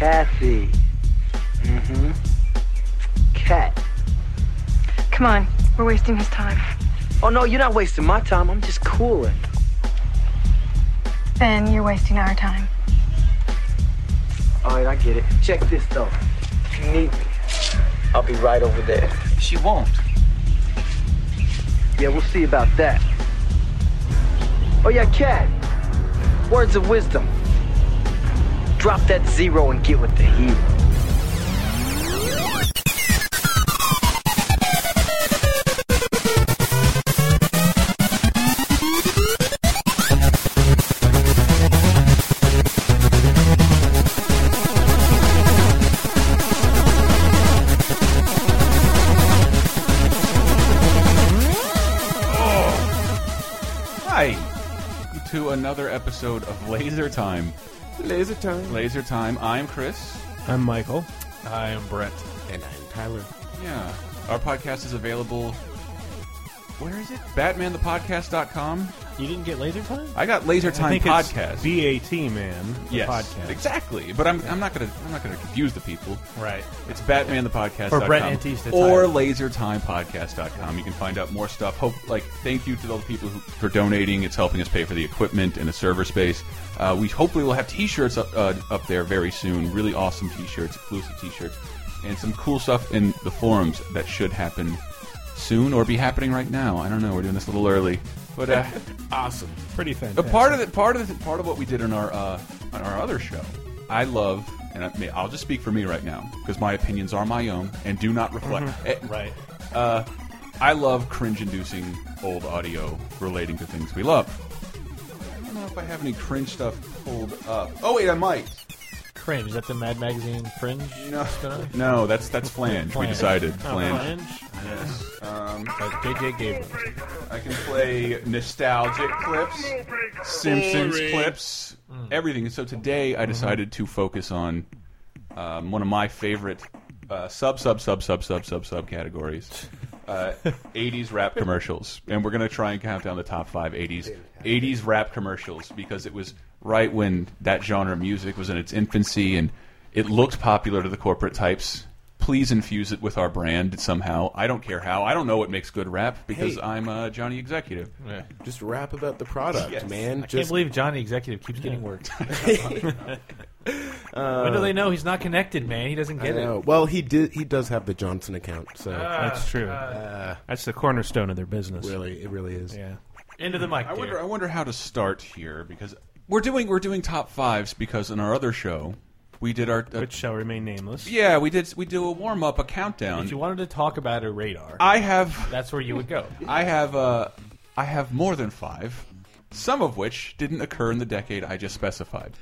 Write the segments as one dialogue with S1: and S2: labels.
S1: Kathy. Mm-hmm. Cat.
S2: Come on, we're wasting his time.
S1: Oh no, you're not wasting my time. I'm just cooling.
S2: Then you're wasting our time.
S1: All right, I get it. Check this though. If you need me, I'll be right over there. She won't. Yeah, we'll see about that. Oh yeah, Cat. Words of wisdom. Drop that zero and get with the hero.
S3: Hi, to another episode of Laser Time.
S4: Laser time.
S3: Laser Time. I'm Chris.
S5: I'm Michael.
S6: I am Brett.
S4: And I'm Tyler.
S3: Yeah, our podcast is available. Where is it? BatmanThePodcast.com.
S5: You didn't get laser time?
S3: I got Laser
S5: I
S3: Time
S5: think
S3: podcast.
S5: It's BAT man. The
S3: yes,
S5: podcast.
S3: exactly. But I'm, I'm not gonna I'm not gonna confuse the people.
S5: Right.
S3: It's Batman the Podcast
S5: Or Brett Antista
S3: or
S5: Tyler.
S3: LaserTimePodcast.com. You can find out more stuff. Hope like thank you to all the people who, for donating. It's helping us pay for the equipment and the server space. Uh, we hopefully will have T-shirts up uh, up there very soon. Really awesome T-shirts, exclusive T-shirts, and some cool stuff in the forums that should happen soon or be happening right now. I don't know. We're doing this a little early, but. Uh,
S4: Awesome.
S5: Pretty
S3: But
S5: fantastic.
S3: part of the part of the, part of what we did on our uh, on our other show, I love, and I, may- I'll just speak for me right now because my opinions are my own and do not reflect. eh,
S5: Right.
S3: Uh, I love cringe-inducing old audio relating to things we love. I don't know if I have any cringe stuff pulled up. Oh wait, I might.
S6: Cringe. Is that the Mad Magazine Fringe?
S3: No.
S6: spin-off?
S3: No, that's that's flange. We
S6: Flange.
S3: decided
S6: Oh,
S3: flange.
S6: Flange?
S3: Yes. Um,
S6: By JJ Gabriel.
S3: I can play nostalgic clips, Simpsons clips, everything. So today I decided to focus on um, one of my favorite uh, sub sub sub sub sub sub sub categories. Uh, 80s rap commercials, and we're gonna try and count down the top five 80s 80s rap commercials because it was right when that genre of music was in its infancy and it looked popular to the corporate types. Please infuse it with our brand somehow. I don't care how. I don't know what makes good rap because
S4: Hey.
S3: I'm a Johnny Executive.
S6: Yeah.
S4: Just rap about the product,
S3: Yes.
S4: man.
S6: I can't
S4: Just
S6: believe Johnny Executive keeps getting worked.
S3: Uh,
S6: when do they know he's not connected, man? He doesn't
S4: I
S6: get
S4: know.
S6: it.
S4: Well, he did. He does have the Johnson account, so
S3: Ah.
S5: That's true.
S4: uh,
S5: That's the cornerstone of their business.
S4: really, it really is.
S5: Yeah.
S6: Into the mic.
S3: I
S6: dear.
S3: wonder. I wonder how to start here because we're doing we're doing top fives because in our other show we did our uh,
S5: Which shall remain nameless.
S3: yeah we did we do a warm up a
S6: If you
S3: countdown.
S6: wanted to talk about a radar,
S3: I have
S6: that's where you would go.
S3: I have uh, I have more than five, some of which didn't occur in the decade I just specified,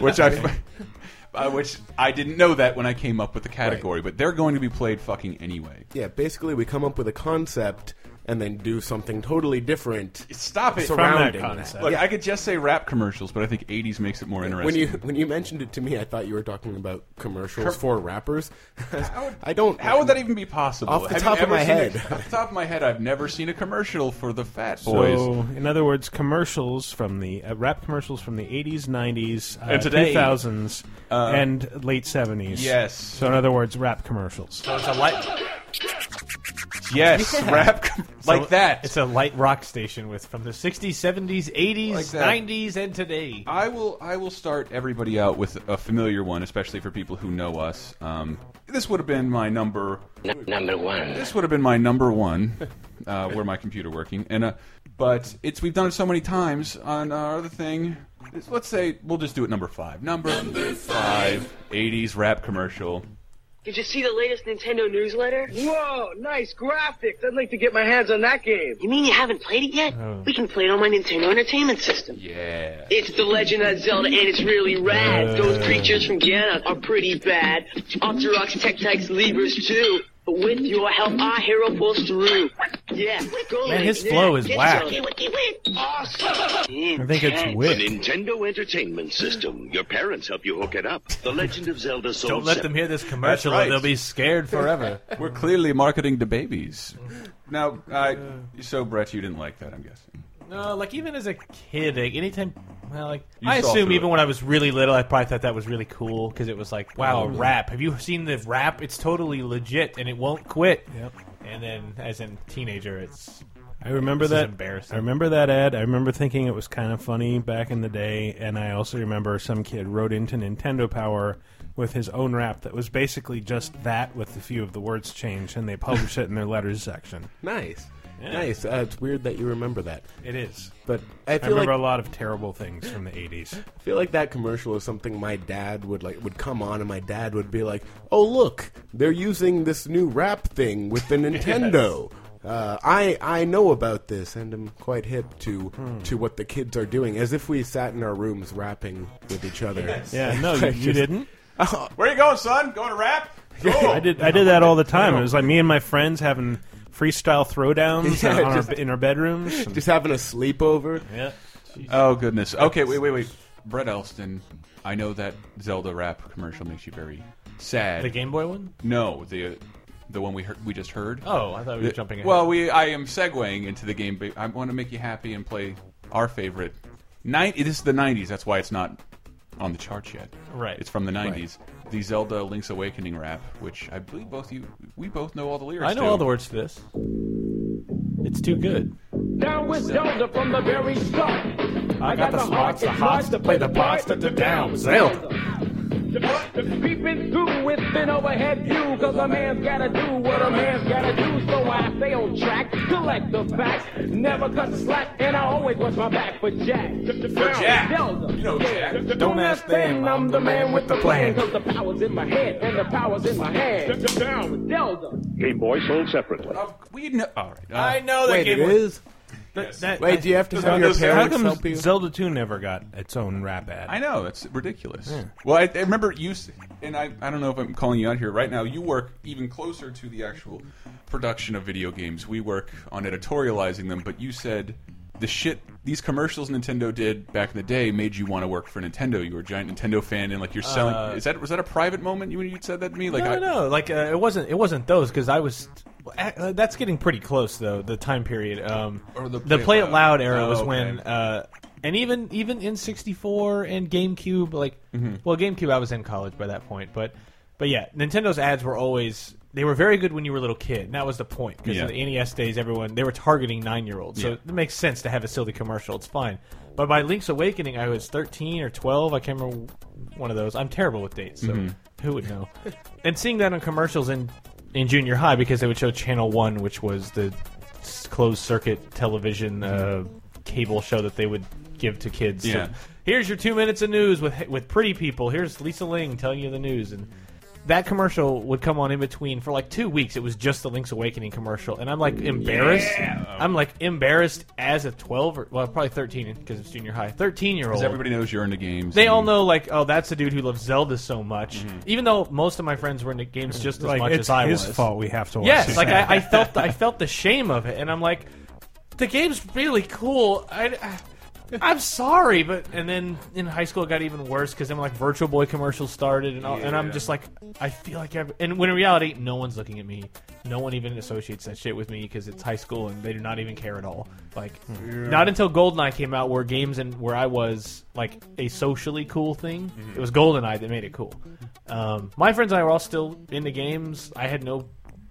S3: which I uh, which I didn't know that when I came up with the category, but they're going to be played fucking anyway.
S4: Yeah, Basically, we come up with a concept and then do something totally different.
S3: Stop it.
S4: Surround- Rounding that.
S5: concept.
S3: Look, I could just say rap commercials, but I think '80s makes it more interesting.
S4: When you when you mentioned it to me, I thought you were talking about commercials
S3: Com-
S4: for rappers.
S3: How would-
S4: I don't.
S3: How would that even be possible?
S4: Off the
S3: Have you
S4: top of
S3: ever
S4: my
S3: seen a-
S4: head.
S3: off the top of my head, I've never seen a commercial for the Fat Boys.
S5: So, in other words, commercials from the uh, rap commercials from the 80s, 90s, uh,
S3: And today- uh,
S5: 2000s, and late 70s.
S3: yes.
S5: So, in other words, rap commercials.
S6: So it's a light,
S3: yes, rap com- like that.
S6: It's a light rock station with from the '60s, '70s, '80s,
S3: Like that.
S6: '90s, and today.
S3: I will. I will start everybody out with a familiar one, especially for people who know us. Um, this would have been my number.
S7: Number one.
S3: This would have been my number one. Uh, where my computer working, and uh, but it's we've done it so many times on our other thing. It's- Let's say we'll just do it number five. Number, five, 80s rap commercial.
S8: Did you see the latest Nintendo newsletter?
S1: Whoa, nice graphics. I'd like to get my hands on that game.
S8: You mean you haven't played it yet?
S6: Oh.
S8: We can play it on my Nintendo Entertainment System.
S3: Yeah.
S8: It's The Legend of Zelda, and it's really rad.
S6: Uh.
S8: Those creatures from Ganon are pretty bad. Octoroks, Tektites, Libras, too. But with your help, our hero pulls through. Yeah, go
S6: Man,
S8: Link.
S6: his flow
S8: Yeah,
S6: is
S8: get
S6: whack.
S8: Zelda. Wiki, wiki. Awesome.
S5: I think it's
S9: The
S5: wit.
S9: Nintendo Entertainment System. Your parents help you hook it up. The Legend of Zelda Soul
S6: Don't let
S9: Sever-
S6: them hear this commercial;
S3: right.
S6: or they'll be scared forever.
S3: We're clearly marketing to babies. Now, I, so Brett, you didn't like that, I'm guessing.
S6: Uh, No, like even as a kid, like anytime Well, like
S3: You
S6: I
S3: saw
S6: assume
S3: through
S6: even
S3: it.
S6: when I was really little, I probably thought that was really cool because it was like, wow, a rap. Have you seen the rap? It's totally legit and it won't quit.
S5: Yep.
S6: And then as a teenager, it's
S5: I remember
S6: This is
S5: that.
S6: embarrassing.
S5: I remember that ad. I remember thinking it was kind of funny back in the day, and I also remember some kid wrote into Nintendo Power with his own rap that was basically just that with a few of the words changed, and they published it in their letters section.
S4: Nice. Nice. Uh, it's weird that you remember that.
S5: It is.
S4: But I
S5: I
S4: feel
S5: remember
S4: like
S5: a lot of terrible things from the '80s.
S4: I feel like that commercial is something my dad would like would come on and my dad would be like, "Oh look, they're using this new rap thing with the Nintendo." Uh, I I know about this and am quite hip to
S6: Hmm.
S4: to what the kids are doing, as if we sat in our rooms rapping with each other.
S5: Yeah, no, you, you didn't.
S3: Where you going, son? Going to rap?
S4: Oh,
S3: Cool.
S5: I did. I did that all the time. It was like me and my friends having freestyle throwdowns
S4: Yeah,
S5: on our-
S4: just-
S5: in our bedrooms. and-
S4: Just having a sleepover.
S5: yeah.
S3: Oh goodness. Okay, wait, wait, wait. Brett Elston. I know that Zelda rap commercial makes you very sad.
S6: the Game Boy one.
S3: No, the the one we heard, we just heard.
S6: Oh, I thought we were jumping. Ahead.
S3: Well, we I am segueing into the game. But I want to make you happy and play our favorite. Nine. This is the '90s. That's why it's not on the charts yet.
S6: Right.
S3: It's from the '90s. The Zelda Link's Awakening rap, which I believe both you we both know all the lyrics.
S6: I know
S3: to.
S6: all the words to this. It's too good.
S7: Down with Zelda from the very start. I got the smarts, the hots to play the parts to the down Zelda. Creeping through with an overhead view, cause a man's gotta do what a man's gotta do. So I stay on track, collect the facts, never cut the slack, and I always watch my back for Jack. For
S3: Jack.
S7: Zelda.
S3: You know Jack.
S7: Don't ask them, I'm the man with the plan. Cause the power's in my head, and the power's in my hand. Down with Zelda.
S10: Game Boy sold separately.
S3: Oh, we know. All right. Uh,
S6: I know that
S4: Wait, it
S6: Game Boy.
S4: is.
S3: yes.
S4: Wait, do you have to
S3: on
S4: have your
S3: this- how
S5: How
S4: parents
S5: come
S4: help you?
S5: Zelda 2 never got its own rap ad?
S3: I know it's ridiculous. Well, I, I remember you, s- and I, I don't know if I'm calling you out here right now. You work even closer to the actual production of video games. We work on editorializing them, but you said the shit these commercials Nintendo did back in the day made you want to work for Nintendo. You were a giant Nintendo fan, and like you're selling. is that was that a private moment you when you said that to me? Like I,
S6: Uh, no, no, no. Like uh, it wasn't. It wasn't those because I was. Uh, that's getting pretty close though. The time period. Um,
S3: Or
S6: the play, it loud era
S3: Oh,
S6: was
S3: okay.
S6: when. Uh, and even even in '64 and GameCube, like,
S3: Mm-hmm.
S6: well, GameCube, I was in college by that point, but but yeah, Nintendo's ads were always they were very good when you were a little kid, and that was the point because
S3: Yeah.
S6: in the NES E days, everyone they were targeting nine year olds, so
S3: Yeah.
S6: it makes sense to have a silly commercial. It's fine. But by Link's Awakening, I was 13 or 12. I can't remember one of those. I'm terrible with dates, so
S3: Mm-hmm.
S6: who would know? and seeing that on commercials in in junior high because they would show Channel One, which was the s- closed circuit television uh, cable show that they would give to kids. So,
S3: Yeah.
S6: Here's your two minutes of news with with pretty people. Here's Lisa Ling telling you the news and that commercial would come on in between for like two weeks. It was just the Link's Awakening commercial, and I'm like embarrassed.
S3: Oh.
S6: I'm like embarrassed as a 12 or well, probably 13 because it's junior high. 13 year old.
S3: 'cause everybody Mm. knows you're into games.
S6: They
S3: and-
S6: all know like, oh, that's the dude who loves Zelda so much.
S3: Mm-hmm.
S6: Even though most of my friends were into games just as
S5: Like,
S6: much
S5: it's
S6: as I
S5: his
S6: was.
S5: fault we have to watch
S6: Yes,
S5: this
S6: like
S5: ad.
S6: I, I felt the, I felt the shame of it, and I'm like, the game's really cool. I, I, am sorry, but and then in high school it got even worse because then like Virtual Boy commercials started, and all, and I'm just like, I feel like I've, and when in reality no one's looking at me, no one even associates that shit with me because it's high school and they do not even care at all. Like, not until Goldeneye came out where games and where I was like a socially cool thing. It was Goldeneye that made it cool. Um, my friends and I were all still into games. I had no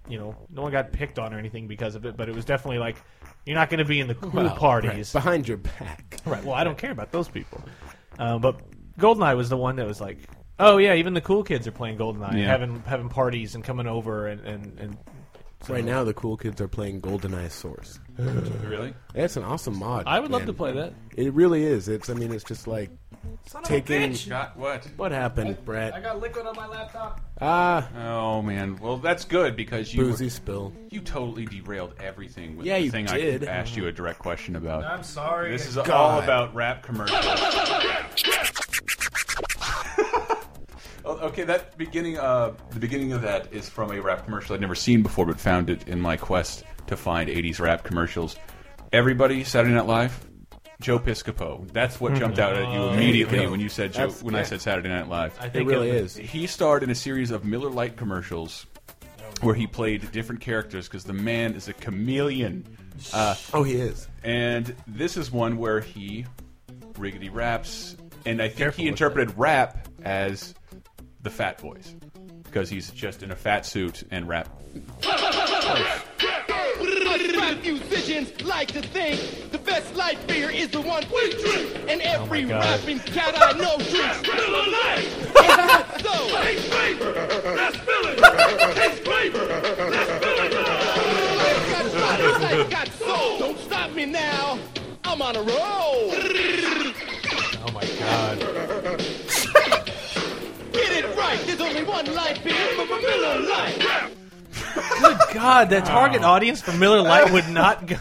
S6: you know, no one got picked on or anything because of it, but it was definitely like, you're not going to be in the cool parties. Right.
S4: Behind your back.
S6: Well, I don't care about those people. Uh, but Goldeneye was the one that was like, oh yeah, even the cool kids are playing Goldeneye, and
S3: Yeah.
S6: having having parties and coming over and and, and
S4: Right now, the cool kids are playing GoldenEye Source.
S3: really.
S4: That's an awesome mod.
S6: I would love
S4: man.
S6: to play that.
S4: It really is. It's. I mean, it's just like taking.
S3: Got what?
S4: What happened, Brett?
S6: got liquid on my laptop.
S4: Ah,
S3: Oh man. Well, that's good because you
S4: boozy spill.
S3: you totally derailed everything with
S4: Yeah,
S3: the
S4: you
S3: thing
S4: did.
S3: I asked you a direct question about.
S6: sorry.
S3: This is all
S4: God.
S3: about rap commercials. Oh, okay, that beginning, uh, the beginning of that is from a rap commercial I'd never seen before, but found it in my quest to find '80s rap commercials. Everybody, Saturday Night Live, Joe Piscopo. That's what jumped out at you immediately when Mm-hmm. you said Joe,
S4: That's-
S3: when I said Saturday Night Live.
S6: I
S4: It
S6: think
S4: really
S6: of-
S4: is.
S3: He starred in a series of Miller Lite commercials where he played different characters because the man is a chameleon.
S4: Oh, he is.
S3: And this is one where he riggedy raps, and I think he interpreted rap as the fat voice because he's just in a fat suit and rap.
S11: Rap musicians like to think the best light beer is the one we drink, and every
S6: God.
S11: rapping cat I know drinks Miller Lite. And so, got body, life got soul. Don't stop me now. I'm on a roll.
S6: Oh my god.
S11: Get it right. There's only one light beer for Miller Lite.
S6: Good god, that target audience for Miller Lite would not go.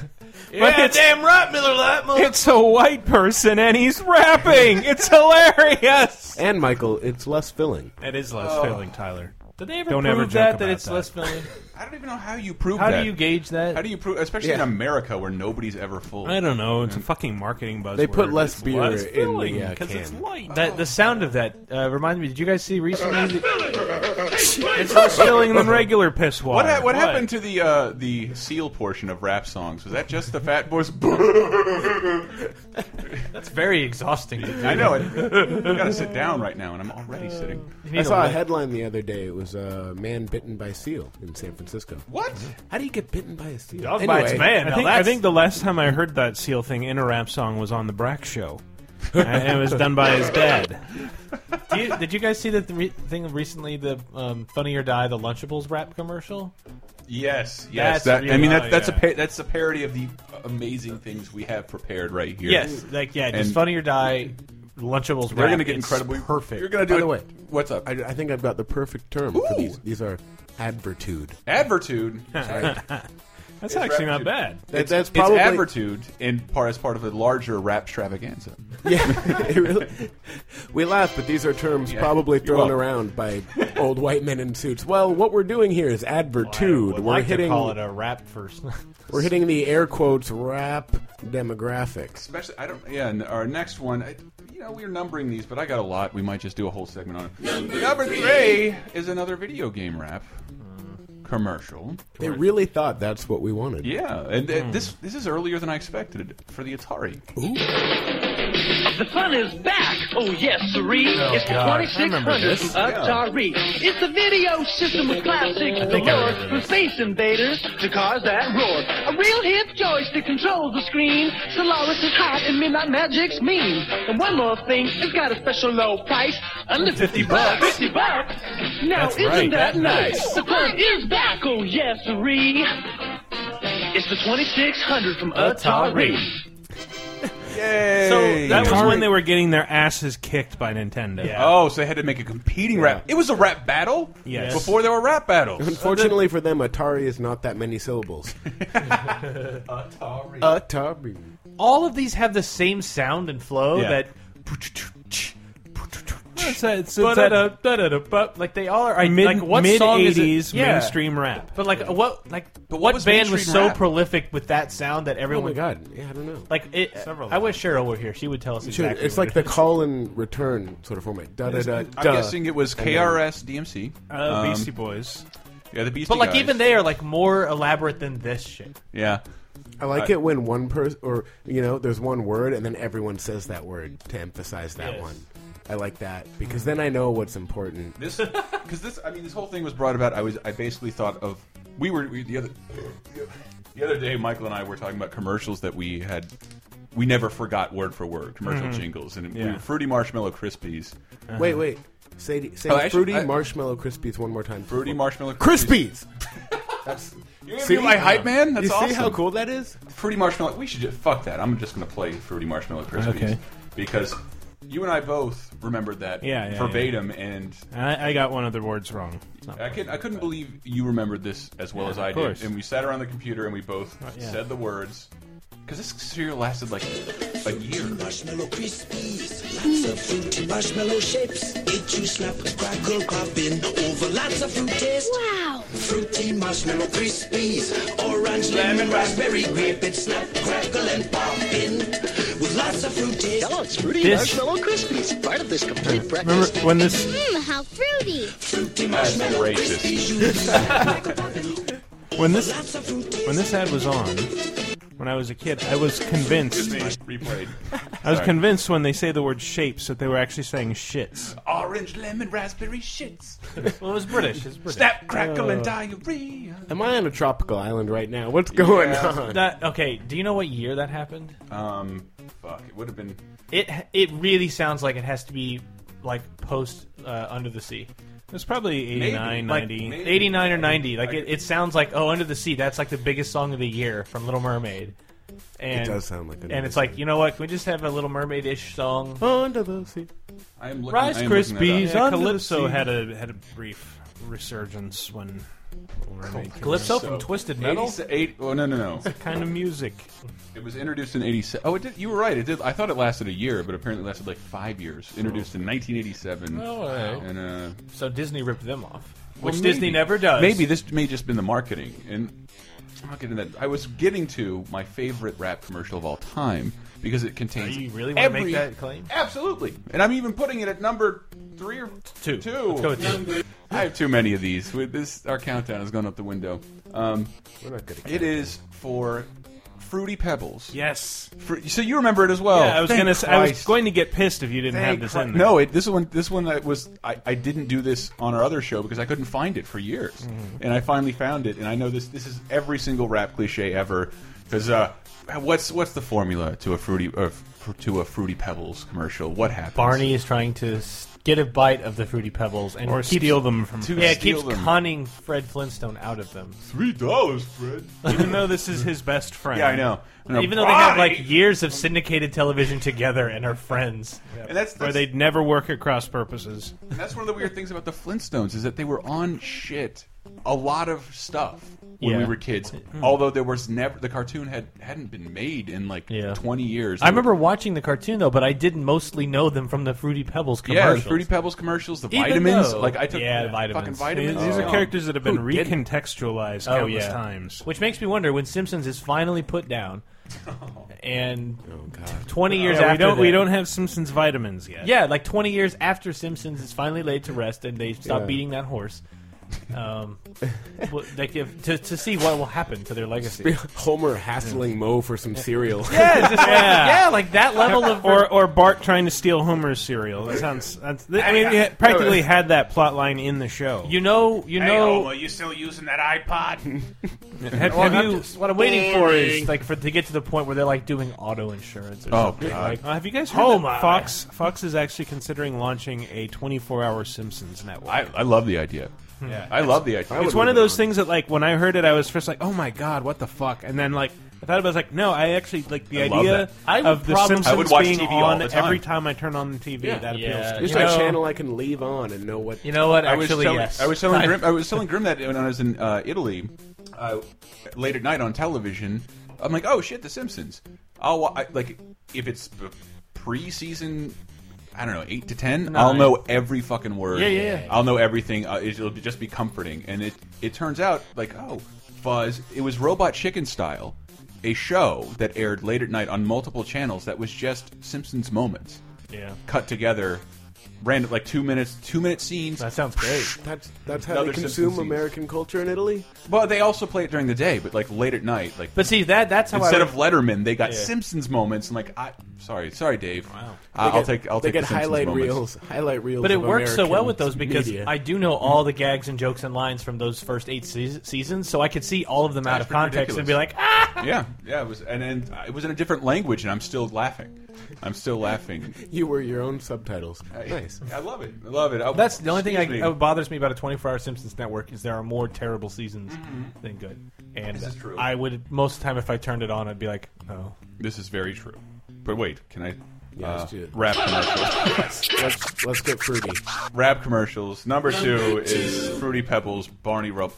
S6: But it's, damn right, Miller Lite. Mother-
S5: It's a white person and he's rapping. It's hilarious.
S4: And Michael, it's less filling.
S5: It is less filling, Tyler.
S6: Did Oh. they ever
S5: Don't
S6: prove
S5: ever joke
S6: that that
S5: about
S6: it's
S5: that.
S6: less filling?
S3: I don't even know how you prove
S6: How
S3: that.
S6: do you gauge that?
S3: How do you prove, especially in America where nobody's ever fooled?
S5: I don't know. It's a fucking marketing buzzword.
S4: They put less
S5: It's
S4: beer
S5: less
S4: in the,
S5: filling
S4: uh,
S5: it's
S4: can.
S5: light.
S6: That the sound of that uh, reminded me. Did you guys see recently? it's less filling
S5: than regular piss
S3: What,
S5: water.
S3: ha- what happened to the uh, the seal portion of rap songs? Was that just the Fat Boys?
S6: That's very exhausting. To do.
S3: I know it. I gotta sit down right now, and I'm already sitting.
S6: You
S4: I
S6: need
S4: saw a
S6: light.
S4: headline the other day. It was a man bitten by seal in San Francisco.
S3: What?
S4: How do you get bitten by a seal?
S6: Dog bites man.
S5: I
S6: Now
S5: think, I
S6: that's-
S5: think the last time I heard that seal thing in a rap song was on the Brack Show, and it was done by his dad.
S6: Do you- did you guys see that re- thing recently? The um, Funny or Die, the Lunchables wrap commercial.
S3: Yes,
S6: That's
S3: yes. that, I
S6: really-
S3: mean, that,
S6: oh,
S3: that's a
S6: yeah.
S3: pa that's a parody of the amazing things we have prepared right here.
S6: Yes, like yeah, just
S3: And-
S6: Funny or Die, Lunchables wrap.
S3: they're gonna get
S6: It's
S3: incredibly
S6: perfect.
S3: You're gonna do
S4: By
S3: it.
S4: the way,
S3: what's up?
S4: I, I think I've got the perfect term for
S3: Ooh.
S4: these. These are advertude.
S3: Advertude.
S5: That's actually not
S3: raptured.
S5: bad.
S4: That,
S3: It's
S4: that's probably
S3: advertude in part as part of a larger rap extravaganza.
S4: Yeah, it really- we laugh, but these are terms
S3: Yeah.
S4: probably
S3: You're
S4: thrown
S3: welcome.
S4: around by old white men in suits. Well, what we're doing here is advertude.
S6: Would
S4: we're
S6: like
S4: hitting
S6: to call it a wrap first.
S4: we're hitting the air quotes rap demographics.
S3: Especially, I don't. Yeah, and our next one. I, you know, we're numbering these, but I got a lot. We might just do a whole segment on it. Number, three is another video game rap commercial.
S4: They really thought that's what we wanted.
S3: Yeah, and
S6: Hmm.
S3: th- this this is earlier than I expected for the Atari.
S12: The fun is back. Oh, yes, siree. it's the
S6: God. Oh, I remember
S12: 2600
S6: this.
S12: from Atari. It's the video system of classics
S6: think I
S12: galore
S6: remember
S12: from
S6: this.
S12: Space Invaders to cause that roar. A real hip joystick controls the screen. Solaris is hot and Midnight Magic's mean. And one more thing, it's got a special low price. Under 50 bucks. 50 bucks. Now,
S6: That's
S12: Oh, isn't
S6: right,
S12: that
S6: that
S12: nice?
S6: nice.
S12: The fun is back. Oh, yes, siree. It's the 2600 from Atari.
S3: Yay!
S5: So that was
S4: Atari-
S5: when they were getting their asses kicked by Nintendo.
S6: Yeah.
S3: Oh, so they had to make a competing rap. It was a rap battle.
S5: Yes.
S3: Before there were rap battles.
S4: Unfortunately for them, Atari is not that many syllables.
S3: Atari.
S4: Atari.
S6: All of these have the same sound and flow
S3: Yeah.
S6: that.
S5: It's that- it's- it's that
S6: Ba-da-da-da-da-da, Like they all are. I,
S5: mid
S6: like what
S5: mid
S6: song is it-
S5: eighties
S6: Yeah.
S5: mainstream rap.
S6: But like what like
S3: But what
S6: what,
S3: was
S6: band was
S3: mainstream
S6: so
S3: rap?
S6: prolific with that sound that
S4: Oh
S6: everyone
S4: my god! Yeah, I don't know.
S6: like it,
S5: Several
S6: I wish Cheryl were here. She would tell us
S4: Sure,
S6: exactly.
S4: it's
S6: what
S4: like
S6: it
S4: the call and return sort of format. Da da da.
S3: I'm
S4: da.
S3: guessing it was KRS DMC.
S5: Uh,
S3: Um,
S5: Beastie Boys.
S3: Yeah, the Beastie
S6: But like
S3: Guys.
S6: even they are like more elaborate than this shit.
S3: Yeah.
S4: I like it when one person, or you know, there's one word, and then everyone says that word to emphasize that
S6: Yes.
S4: one. I like that because then I know what's important.
S3: This because this I mean this whole thing was brought about. I was I basically thought of we were we, the other the other day Michael and I were talking about commercials that we had we never forgot word for word commercial jingles and we
S5: Yeah.
S3: were fruity marshmallow crispies
S4: Wait, wait. Say, say
S3: Uh-huh. Oh, actually,
S4: fruity
S3: I-
S4: marshmallow crispies one more time.
S3: fruity marshmallow
S4: crispies. That's
S3: You're gonna be my hype man. That's
S4: you see
S3: awesome.
S4: how cool that is?
S3: Fruity Marshmallow. We should just fuck that. I'm just gonna play Fruity Marshmallow Krispies
S5: Okay.
S3: because you and I both remembered that
S5: Yeah, yeah, yeah.
S3: verbatim, and
S5: I, I got one of the words wrong.
S3: I, could, I couldn't believe you remembered this as well as I did.
S5: course.
S3: And we sat around the computer and we both
S5: yeah.
S3: said the words because this cereal lasted like a year.
S8: Marshmallow crispies, lots of fruity marshmallow shapes. Get you slap, crackle, popping over lots of fruit taste. Wow! Fruity marshmallow crispies, orange, lemon, raspberry, grape. It's snap, crackle, and poppin' with lots of fruit taste.
S11: Kellogg's Fruity
S5: This-
S11: Marshmallow Krispies, part of this complete
S5: Remember
S11: breakfast.
S5: when this
S13: Mmm, how fruity.
S8: Hmm, Fruity
S3: That's
S8: marshmallow
S3: racist.
S8: crispies, you crackle, poppin'
S5: when this
S8: lots of fruit taste.
S5: when this ad was on when I was a kid, I was convinced
S3: Replayed.
S5: I was
S3: Sorry.
S5: convinced when they say the word shapes that they were actually saying shits.
S3: Orange, lemon, raspberry shits.
S6: well, it was British. It's British.
S3: Snap, crackle, and
S5: Oh.
S6: Uh,
S3: diarrhea.
S4: Am I on a tropical island right now? What's going
S3: Yeah.
S4: on?
S6: That- okay, do you know what year that happened?
S3: Um, fuck. It would have been.
S6: It it really sounds like it has to be like post uh, Under the Sea.
S5: It's probably 89,
S6: like,
S5: 90.
S6: 89 or 90. Like it, it sounds like oh Under the Sea. That's like the biggest song of the year from Little Mermaid. And,
S4: It does sound like Under
S6: And
S4: the
S6: it's like you know what? Can we just have a Little Mermaid ish song?
S4: Under the sea.
S3: I am looking.
S5: Rice
S3: I am looking that up.
S5: Krispies.
S6: Yeah,
S5: Calypso
S6: Calypso
S5: had
S6: had
S5: a had a brief resurgence when
S6: Calypso from Twisted Metal.
S3: 80, eight, oh no no no!
S5: kind of music.
S3: It was introduced in '87. Oh, it did, you were right. It did. I thought it lasted a year, but apparently it lasted like five years. Introduced in 1987.
S6: Oh, all right.
S3: And uh,
S6: So Disney ripped them off,
S3: well,
S6: which Disney
S3: maybe-
S6: never does.
S3: Maybe this may just been the marketing. And I'm not getting that. I was getting to my favorite rap commercial of all time because it contains.
S6: You really want to
S3: every,
S6: make that claim?
S3: Absolutely. And I'm even putting it at number three or
S6: Two.
S3: Two.
S6: Let's go with two.
S3: I have too many of these. We, this our countdown has gone up the window. Um,
S4: We're not good at
S3: it is for fruity pebbles.
S5: Yes.
S3: Fru- so you remember it as well.
S5: yeah, I was
S3: Oh, Thank
S5: gonna. say- I was
S3: Christ.
S5: going to get pissed if you didn't have
S3: Thank
S5: this
S3: Christ.
S5: in there.
S3: No, it, this one. This one I was. I, I didn't do this on our other show because I couldn't find it for years,
S5: Mm-hmm.
S3: and I finally found it. And I know this. This is every single rap cliche ever. Because uh, what's what's the formula to a fruity uh, fr- to a fruity pebbles commercial? What happens?
S6: Barney is trying to s- get a bite of the fruity pebbles and
S5: or
S6: keeps-
S5: steal them from.
S3: To
S6: Yeah, it
S3: steal
S6: keeps
S3: them.
S6: conning Fred Flintstone out of them.
S3: three dollars, Fred.
S5: even though this is his best friend.
S3: Yeah, I know. And
S6: Even though they have
S3: Barney-
S6: like years of syndicated television together and are friends.
S3: and that's,
S5: Where
S3: that's
S5: they'd never work at cross purposes.
S3: And that's one of the weird things about the Flintstones is that they were on shit a lot of stuff when we
S6: Yeah.
S3: were kids.
S5: Mm-hmm.
S3: Although there was never the cartoon had hadn't been made in like
S6: Yeah.
S3: twenty years.
S6: I remember watching the cartoon though, but I didn't mostly know them from the Fruity Pebbles
S3: yeah, the
S6: commercials.
S3: Fruity Pebbles commercials, the
S6: Even
S3: vitamins.
S6: though-
S3: like I took
S6: Yeah,
S3: fucking
S6: vitamins.
S3: vitamins.
S5: These
S3: Oh.
S5: are characters that have been
S3: Who didn't?
S5: recontextualized
S6: Oh,
S5: countless
S6: yeah.
S5: times.
S6: Which makes me wonder when Simpsons is finally put down, and
S4: God.
S6: twenty years
S5: Yeah,
S6: after
S5: we don't
S6: that,
S5: we don't have Simpsons vitamins yet.
S6: Yeah, like twenty years after Simpsons is finally laid to rest and they stop
S4: Yeah.
S6: beating that horse. Um, well, they give, to to see what will happen to their legacy.
S4: Homer hassling Moe for some cereal.
S6: Yeah, it's just like, yeah, like that level of
S5: Or, or Bart trying to steal Homer's cereal. That sounds. That's, I mean, they practically had that plot line in the show.
S6: you know you know
S3: you still using that iPod?
S5: have, have
S6: Oh, I'm
S5: you?
S6: just- what I'm waiting for is like for to get to the point where they're like doing auto insurance. Or
S3: Oh,
S6: something.
S3: God.
S6: Like,
S5: Uh, have you guys heard
S6: Oh,
S5: that
S6: my.
S5: Fox Fox is actually considering launching a 24-hour Simpsons network?
S3: I, I love the idea.
S5: Yeah.
S3: I love the idea.
S4: would
S5: it's one of
S4: leave it
S5: those
S4: on.
S5: things that like when I heard it, I was first like, "Oh my god, what the fuck?" And then like I thought about it, I was like, "No, I actually like the
S3: I love
S5: idea
S3: that.
S6: I would
S5: of the
S6: probably-
S5: Simpsons
S3: I would watch
S5: being
S3: TV all
S5: on
S3: the time.
S5: every time I turn on the TV." That appeals to
S6: Yeah.
S5: me.
S4: There's
S6: You
S4: a
S6: know-
S4: channel I can leave on and know what.
S6: you know what?
S3: I was
S6: Actually,
S3: telling-
S6: yes.
S3: I was telling Grim. I was telling Grim that when I was in uh, Italy, uh, late at night on television. I'm like, oh shit, The Simpsons. I'll wa- I, like if it's b- pre-season. I don't know, eight to 10 i I'll know every fucking word.
S6: Yeah, yeah, yeah.
S3: I'll know everything. Uh, it, will just be comforting, and it it turns out like, oh, fuzz. It was Robot Chicken style, a show that aired late at night on multiple channels that was just Simpsons moments
S6: yeah.
S3: cut together, random like two minutes, two minute scenes.
S6: That sounds great.
S4: That's that's how
S3: Another
S4: they
S3: Simpsons
S4: consume
S3: scene.
S4: American culture in Italy.
S3: Well, they also play it during the day, but like late at night, like
S6: But see that that's how
S3: instead
S6: I
S3: of Letterman, they got
S6: Yeah.
S3: Simpsons moments. And like, I sorry, sorry, Dave. Wow,
S4: They
S3: I,
S4: get-
S3: I'll take I'll
S4: they
S3: take
S4: get
S3: the Simpsons
S4: highlight
S3: moments.
S4: reels, highlight reels.
S6: But it
S4: of
S6: works so
S4: American
S6: well with those because
S4: media.
S6: I do know all the gags and jokes and lines from those first eight seas seasons, so I could see all of them out
S3: That's
S6: of context
S3: ridiculous.
S6: and be like, ah!
S3: Yeah, yeah, it was, and then uh, it was in a different language, and I'm still laughing. I'm still laughing.
S4: you were your own subtitles.
S3: Uh,
S4: Nice.
S3: I love it. I love it. I-
S6: That's the only thing I,
S3: excuse me.
S6: that bothers me about a 24-hour Simpsons network is there are more terrible seasons than good. And
S3: Mm-hmm. This is true.
S6: I would most of the time if I turned it on, I'd be like, oh.
S3: This is very true. But wait, can I?
S4: Yeah,
S3: uh,
S4: let's do it.
S3: rap commercials.
S4: Let's let's get fruity.
S3: rap commercials. Number two is Fruity Pebbles, Barney Rub.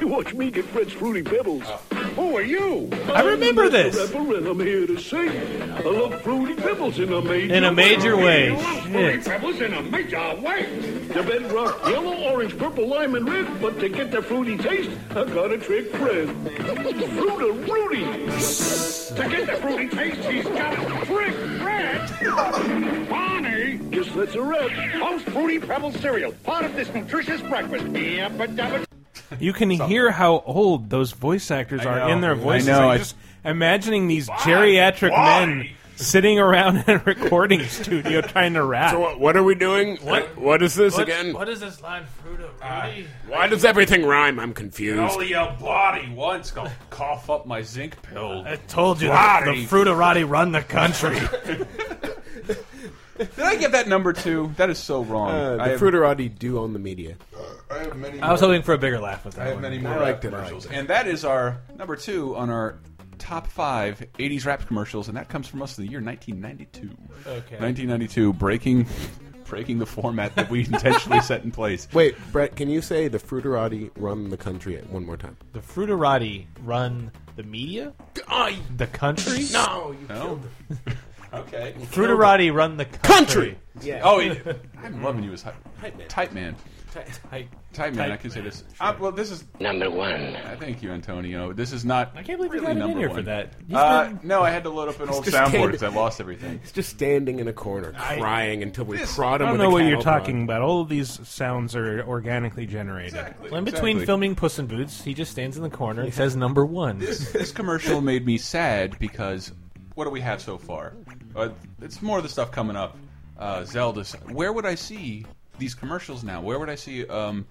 S8: You watch me get Fred's Fruity Pebbles. Oh. Who are you?
S6: I remember this
S8: Rapper, and I'm here to sing. I love Fruity Pebbles in a major
S6: in a major way. Shit.
S8: Pebbles in a major way. The bedrock yellow, orange, purple, lime, and red. But to get the fruity taste, I gotta trick Fred. Fruity Rudy. to get the fruity taste, he's gotta trick Fred. Bonnie. Guess that's a wrap. Most Fruity Pebbles cereal, part of this nutritious breakfast. Yabba-dabba.
S5: You can hear how old those voice actors
S3: I
S5: are
S3: know.
S5: in their
S3: I
S5: voices.
S3: know,
S5: I'm
S3: I-
S5: just imagining these geriatric men sitting around in a recording studio trying to rap.
S4: So what, what are we doing?
S6: What-
S4: what is this
S6: What-
S4: again?
S6: What is this line, Fruta Rudy?
S3: Uh,
S4: Why does everything rhyme? I'm
S3: And
S4: confused.
S3: Only your body once gonna cough up my zinc pill.
S6: I told you, the,
S3: Body.
S6: the Fruta Rudy run the country.
S3: Did I get that number two? That is so wrong.
S4: Uh,
S3: I
S4: the
S3: have-
S4: Fruiterati do on the media.
S3: I have many.
S6: I was hoping for a bigger laugh with that.
S3: I have
S6: one.
S3: many
S4: I
S3: more rap
S4: liked it, I
S3: commercials,
S4: liked
S3: and that is our number two on our top five '80s rap commercials, and that comes from us in the year 1992.
S6: Okay.
S3: 1992, breaking, breaking the format that we intentionally set in place.
S4: Wait, Brett, can you say the Fruiterati run the country at one more time?
S6: The Fruiterati run the media, the country.
S4: no, you
S3: No. okay.
S6: Fruiterati run the country.
S3: Oh, he- I'm
S6: Mm.
S3: loving you as hype, type man.
S6: I,
S3: Type man. I can say this. Uh, well, this is
S10: Number one.
S3: Uh, Thank you, Antonio. This is not.
S6: I can't believe we
S3: really
S6: got him in
S3: number
S6: here
S3: one.
S6: for that. He's
S3: Uh, no, I had to load up an old
S4: just
S3: soundboard
S4: came-
S3: because I lost everything.
S4: He's just standing in a corner crying until we prod him
S5: I don't
S4: with
S5: know
S4: a
S5: what
S4: cattle
S5: you're talking
S4: prod.
S5: about. All of these sounds are organically generated.
S6: Well, in between
S3: Exactly.
S6: filming Puss in Boots, he just stands in the corner and says number one.
S3: this commercial made me sad because what do we have so far? Uh, it's more of the stuff coming up. Uh, Zelda. Where would I see these commercials now? Where would I see um,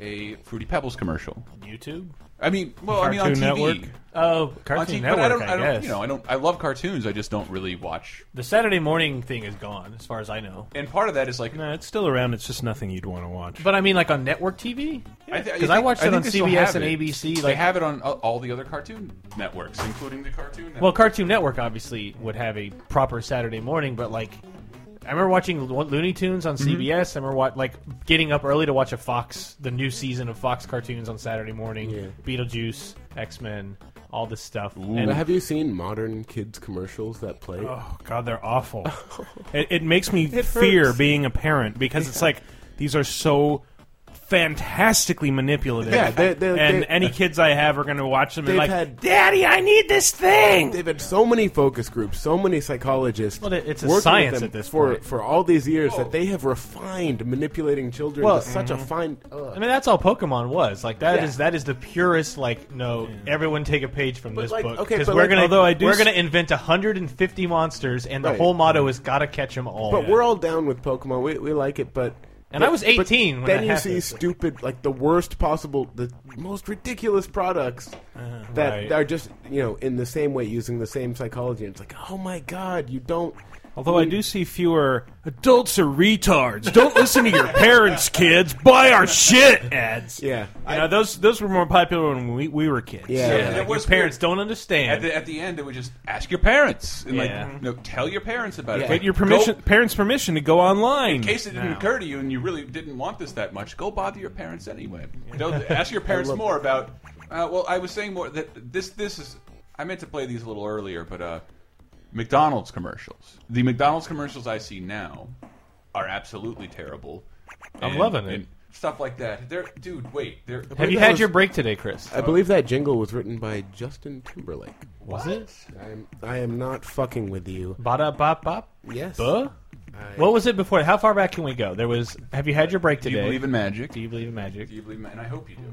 S3: a Fruity Pebbles commercial?
S6: YouTube?
S3: I mean, well, I mean on
S5: Cartoon
S3: TV.
S5: Network?
S6: Oh,
S3: On
S6: Cartoon
S3: TV,
S6: Network,
S3: but I don't,
S6: I
S3: I don't,
S6: guess.
S3: you know, I don't. I love cartoons. I just don't really watch.
S6: the Saturday morning thing is gone, as far as I know.
S3: And part of that is like
S5: No, it's still around. It's just nothing you'd want to watch.
S6: But I mean, like on network TV?
S3: I thi-
S6: Because
S3: I
S6: I
S3: think-
S6: watched
S3: I
S6: it
S3: think
S6: on
S3: they still
S6: CBS
S3: have
S6: and
S3: it.
S6: ABC. Like,
S3: They have it on uh, all the other cartoon networks, including the Cartoon Network.
S6: Well, Cartoon Network obviously would have a proper Saturday morning, but like, I remember watching Lo- Looney Tunes
S4: Mm-hmm.
S6: on CBS. I remember wa- like getting up early to watch a Fox, the new season of Fox cartoons on Saturday morning.
S4: Yeah.
S6: Beetlejuice, X Men, all this stuff.
S4: But
S6: And
S4: Have you seen modern kids commercials that play?
S5: Oh God, they're awful. it, it makes me fear being a parent because it's like these are so fantastically manipulative.
S4: Yeah, they- they-
S5: and
S4: they-
S5: any kids I have are going to watch them and
S4: They've
S5: like,
S4: had-
S5: "Daddy, I need this thing."
S4: They've had so many focus groups, so many psychologists.
S6: Well, it- it's a
S4: working with
S6: science
S4: them
S6: at this
S4: for
S6: point.
S4: for all these years that they have refined manipulating children
S6: Well,
S4: to such a fine. Ugh.
S6: I mean, that's all Pokemon was. Like that is
S4: Yeah.
S6: that is the purest. Like, no, everyone take a page from this
S4: like,
S6: book
S4: okay,
S6: because
S4: but
S6: we're
S4: like-
S6: gonna
S4: although
S5: I do
S6: we're
S5: s-
S6: gonna invent 150 monsters, and the
S4: Right.
S6: whole motto is gotta catch them all.
S4: But we're all down with Pokemon. We, we like it, but.
S6: And
S4: but-
S6: I was 18
S4: but
S6: when
S4: then
S6: that
S4: you see
S6: happened.
S4: stupid, like the worst possible, the most ridiculous products that
S6: Uh-huh. Right.
S4: are just you know in the same way using the same psychology. And it's like, oh my god, you don't.
S5: Although I do see fewer adults are retards. Don't listen to your parents, kids. Buy our shit ads.
S4: Yeah.
S5: You know, those those were more popular when we, we were kids.
S4: Yeah.
S3: And it
S6: Like, your
S3: was
S6: parents
S3: weird.
S6: don't understand.
S3: At the, at the end, it was just ask your parents and
S6: Yeah.
S3: like, no, tell your parents about it.
S5: Get your permission, parents' permission to go online.
S3: in case it didn't
S5: now.
S3: occur to you and you really didn't want this that much, go bother your parents anyway. They'll ask your parents more about. Uh, well, I was saying more that this this is. I meant to play these a little earlier, but uh, McDonald's commercials. The McDonald's commercials I see now are absolutely terrible.
S6: I'm loving it.
S3: and stuff like that. They're dude, wait. They're
S6: Have you
S4: that
S6: had
S4: was- Uh,
S6: your break today, Chris?
S4: I believe that jingle was written by Justin Timberlake.
S6: Was it?
S4: I'm, I am not fucking with you.
S6: Bada bop bop.
S4: Yes.
S6: Buh? What was it before? How far back can we go? There was. Have you had your break
S3: Do
S6: today?
S3: you believe in magic?
S6: Do you Mm-hmm. believe in magic?
S3: Do you believe? And I hope you do.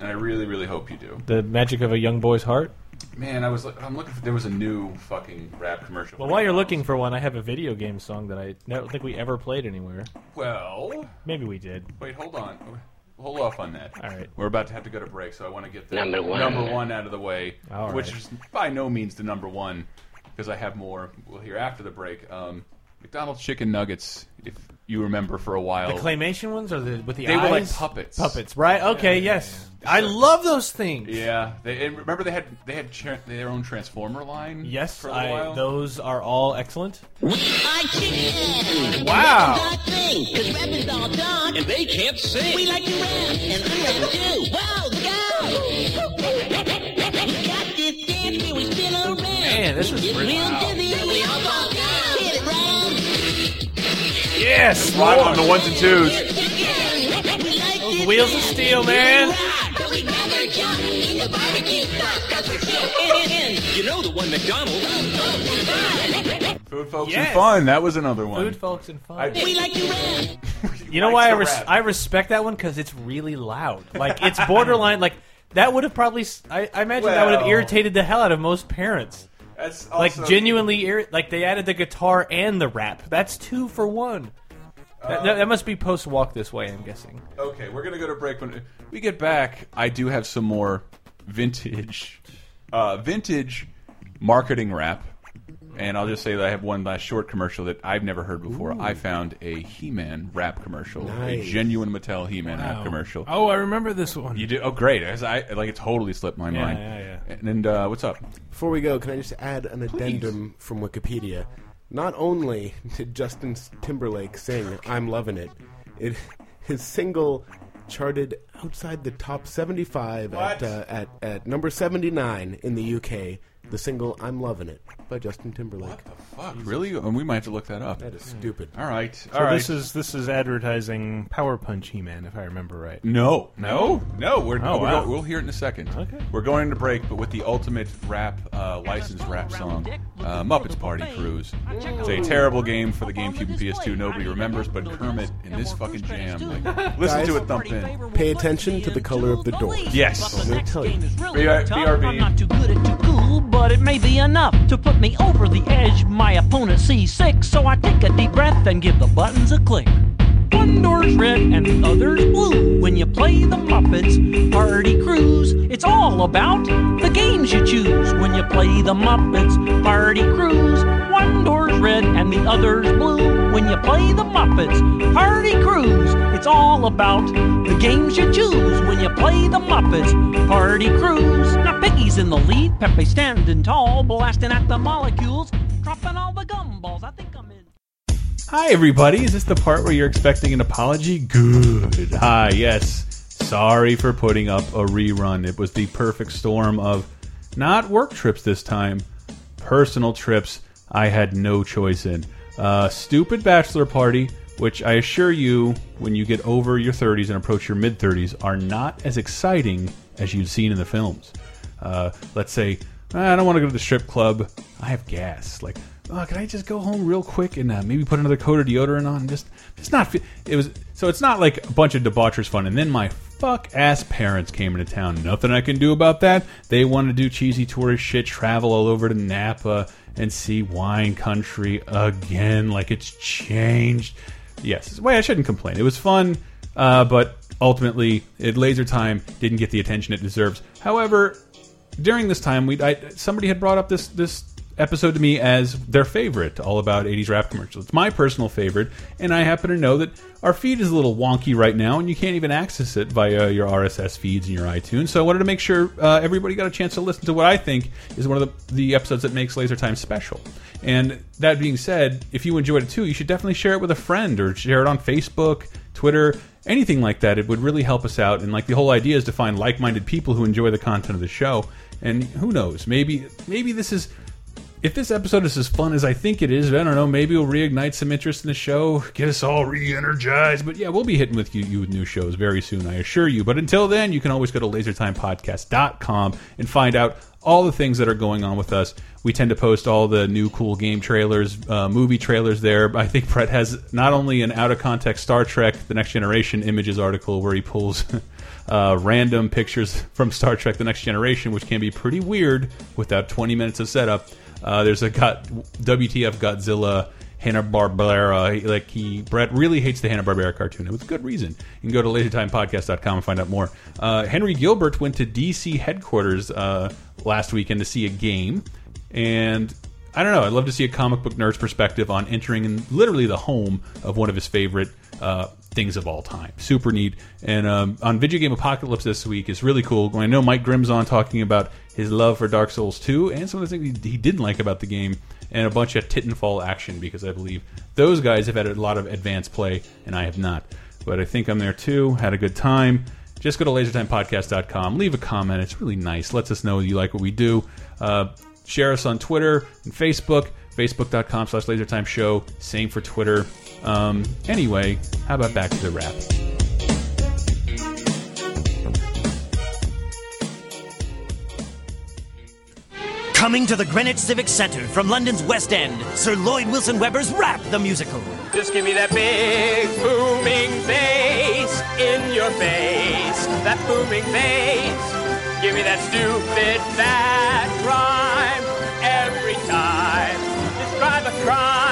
S3: And I really, really hope you do.
S6: The magic of a young boy's heart.
S3: Man, I was look- I'm looking for there was a new fucking rap commercial.
S6: Well, while you're looking for one, I have a video game song that I don't think we ever played anywhere.
S3: well,
S6: Maybe we did.
S3: wait, hold on, hold off on that.
S6: All right.
S3: we're about to have to go to break, so I want to get the
S10: Number one.
S3: number one out of the way,
S6: All right.
S3: which is by no means the number one because I have more. We'll hear after the break. Um, McDonald's chicken nuggets, if you remember for a while,
S6: The claymation ones or the with the
S3: Oh. They
S6: eyes?
S3: were like puppets.
S6: Puppets, right? Okay, yes. I love those things.
S3: Yeah, they, and remember they had they had cha- their own transformer line.
S6: Yes,
S3: for a little
S6: I,
S3: while?
S6: those are all excellent.
S8: I can't.
S6: Wow.
S8: That's a dark thing, 'cause rap is all dark. And they can't sing. We like to rap, and I rap too. Wow, go! We got this dance, we spin around.
S6: Man, this is
S8: It's
S6: really-
S8: real dizzy, we all fall down. Hit it round.
S6: Yes,
S3: live on the ones and twos.
S8: Those
S6: wheels of steel, man.
S8: You know the one McDonald's.
S3: Food, folks,
S6: Yes.
S3: and fun. That was another one.
S6: Food, folks, and fun.
S3: I-
S8: We like to rap.
S6: You know why I,
S3: was
S6: res- I respect that one because it's really loud. Like it's borderline. like that would have probably. s- I, I imagine that would have
S3: Well-
S6: irritated the hell out of most parents.
S3: That's
S6: like
S3: also-
S6: genuinely ir- like they added the guitar and the rap. That's two for one. That, that, that must be post walk this way. I'm guessing.
S3: Okay, we're gonna go to break. When we get back, I do have some more vintage, uh, vintage marketing rap, and I'll just say that I have one last short commercial that I've never heard before. I found a He-Man rap commercial, a
S5: Nice.
S3: genuine Mattel He-Man
S5: Wow.
S3: rap commercial.
S5: Oh, I remember this one.
S3: You do? Oh, great! As I like, it totally slipped my
S5: Yeah,
S3: mind.
S5: yeah,
S3: yeah. And, and uh, what's up?
S4: Before we go, can I just add an addendum from Wikipedia? Not only did Justin Timberlake sing "I'm Lovin' It," it his single charted outside the top 75 at, uh, at at number 79 in the UK. The single "I'm Lovin' It" by Justin Timberlake.
S3: Fuck, really? And we might have to look that up. That
S4: is stupid.
S3: All right,
S5: So
S3: all right.
S5: this is this is advertising Power Punch He-Man, if I remember right.
S3: No, no, no. We're,
S5: Oh,
S3: we're
S5: wow.
S3: go- we'll hear it in a second. Okay. We're going into break, but with the ultimate rap uh, licensed rap song, uh, Muppets Party Cruise. It's a terrible game for the GameCube and PS2. Nobody remembers, but Kermit in this fucking jam, like, listen
S4: Guys,
S3: to it thump in.
S4: Pay attention to the color of the door.
S3: Yes.
S4: I'm gonna tell you.
S13: really
S3: BR-
S13: tough.
S3: BRB.
S13: I'm not too good at too cool, but it may be enough to put me over the edge. My opponent sees six, so I take a deep breath and give the buttons a click. One door's red and the other's blue. When you play the Muppets Party Cruise, it's all about the games you choose. When you play the Muppets Party Cruise, one door's red and the other's blue. When you play the Muppets Party Cruise, it's all about the games you choose. When you play the Muppets Party Cruise, now Piggy's in the lead, Pepe standing tall, blasting at the molecules, dropping all the gumballs. I think I'm in.
S6: Hi, everybody. Is this the part where you're expecting an apology? Good.
S3: Hi, yes. Sorry for putting up a rerun. It was the perfect storm of not work trips this time, personal trips I had no choice in. Uh, stupid bachelor party, which I assure you, when you get over your 30s and approach your mid 30s, are not as exciting as you'd seen in the films. Uh, let's say, "Ah, I don't want to go to the strip club. I have gas. Like, oh, can I just go home real quick and uh, maybe put another coat of deodorant on? Just, just not. Fe it was so. It's not like a bunch of debauchers fun. And then my fuck ass parents came into town. Nothing I can do about that. They want to do cheesy tourist shit, travel all over to Napa and see wine country again. Like it's changed. Yes, wait, I shouldn't complain. It was fun, uh, but ultimately, it laser time didn't get the attention it deserves. However, during this time, we I, somebody had brought up this this episode to me as their favorite, all about 80s rap commercials. It's my personal favorite, and I happen to know that our feed is a little wonky right now, and you can't even access it via your RSS feeds and your iTunes. So I wanted to make sure uh, everybody got a chance to listen to what I think is one of the, the episodes that makes Laser Time special. And that being said, if you enjoyed it too, you should definitely share it with a friend or share it on Facebook, Twitter, anything like that. It would really help us out. And like the whole idea is to find like-minded people who enjoy the content of the show. And who knows? Maybe maybe this is if this episode is as fun as I think it is, I don't know, maybe we'll reignite some interest in the show, get us all re-energized. But yeah, we'll be hitting with you, you with new shows very soon, I assure you. But until then, you can always go to lasertimepodcast.com and find out all the things that are going on with us. We tend to post all the new cool game trailers, uh, movie trailers there. I think Brett has not only an out of context Star Trek: The Next Generation images article where he pulls uh, random pictures from Star Trek: The Next Generation, which can be pretty weird without 20 minutes of setup. Uh, there's a got WTF Godzilla Hanna Barbera. Like he, Brett really hates the Hanna Barbera cartoon, and with good reason. You can go to lasertimepodcast.com and find out more. Uh, Henry Gilbert went to DC headquarters uh, last weekend to see a game, and I don't know. I'd love to see a comic book nerd's perspective on entering in literally the home of one of his favorite uh, things of all time. Super neat. And um, on Video Game Apocalypse this week is really cool. I know Mike Grimm's on talking about his love for Dark Souls 2 and some of the things he, he didn't like about the game and a bunch of tit and fall action because I believe those guys have had a lot of advanced play and I have not. But I think I'm there too. Had a good time. Just go to lasertimepodcast.com. Leave a comment. It's really nice. Lets us know you like what we do. Uh, share us on Twitter and Facebook. Facebook.com slash lasertime show. Same for Twitter. Um, anyway, how about back to the wrap?
S14: Coming to the Greenwich Civic Centre from London's West End, Sir Lloyd Wilson Webber's Rap the Musical.
S11: Just give me that big booming bass in your face. That booming bass. Give me that stupid fat rhyme every
S8: every time. Describe a crime.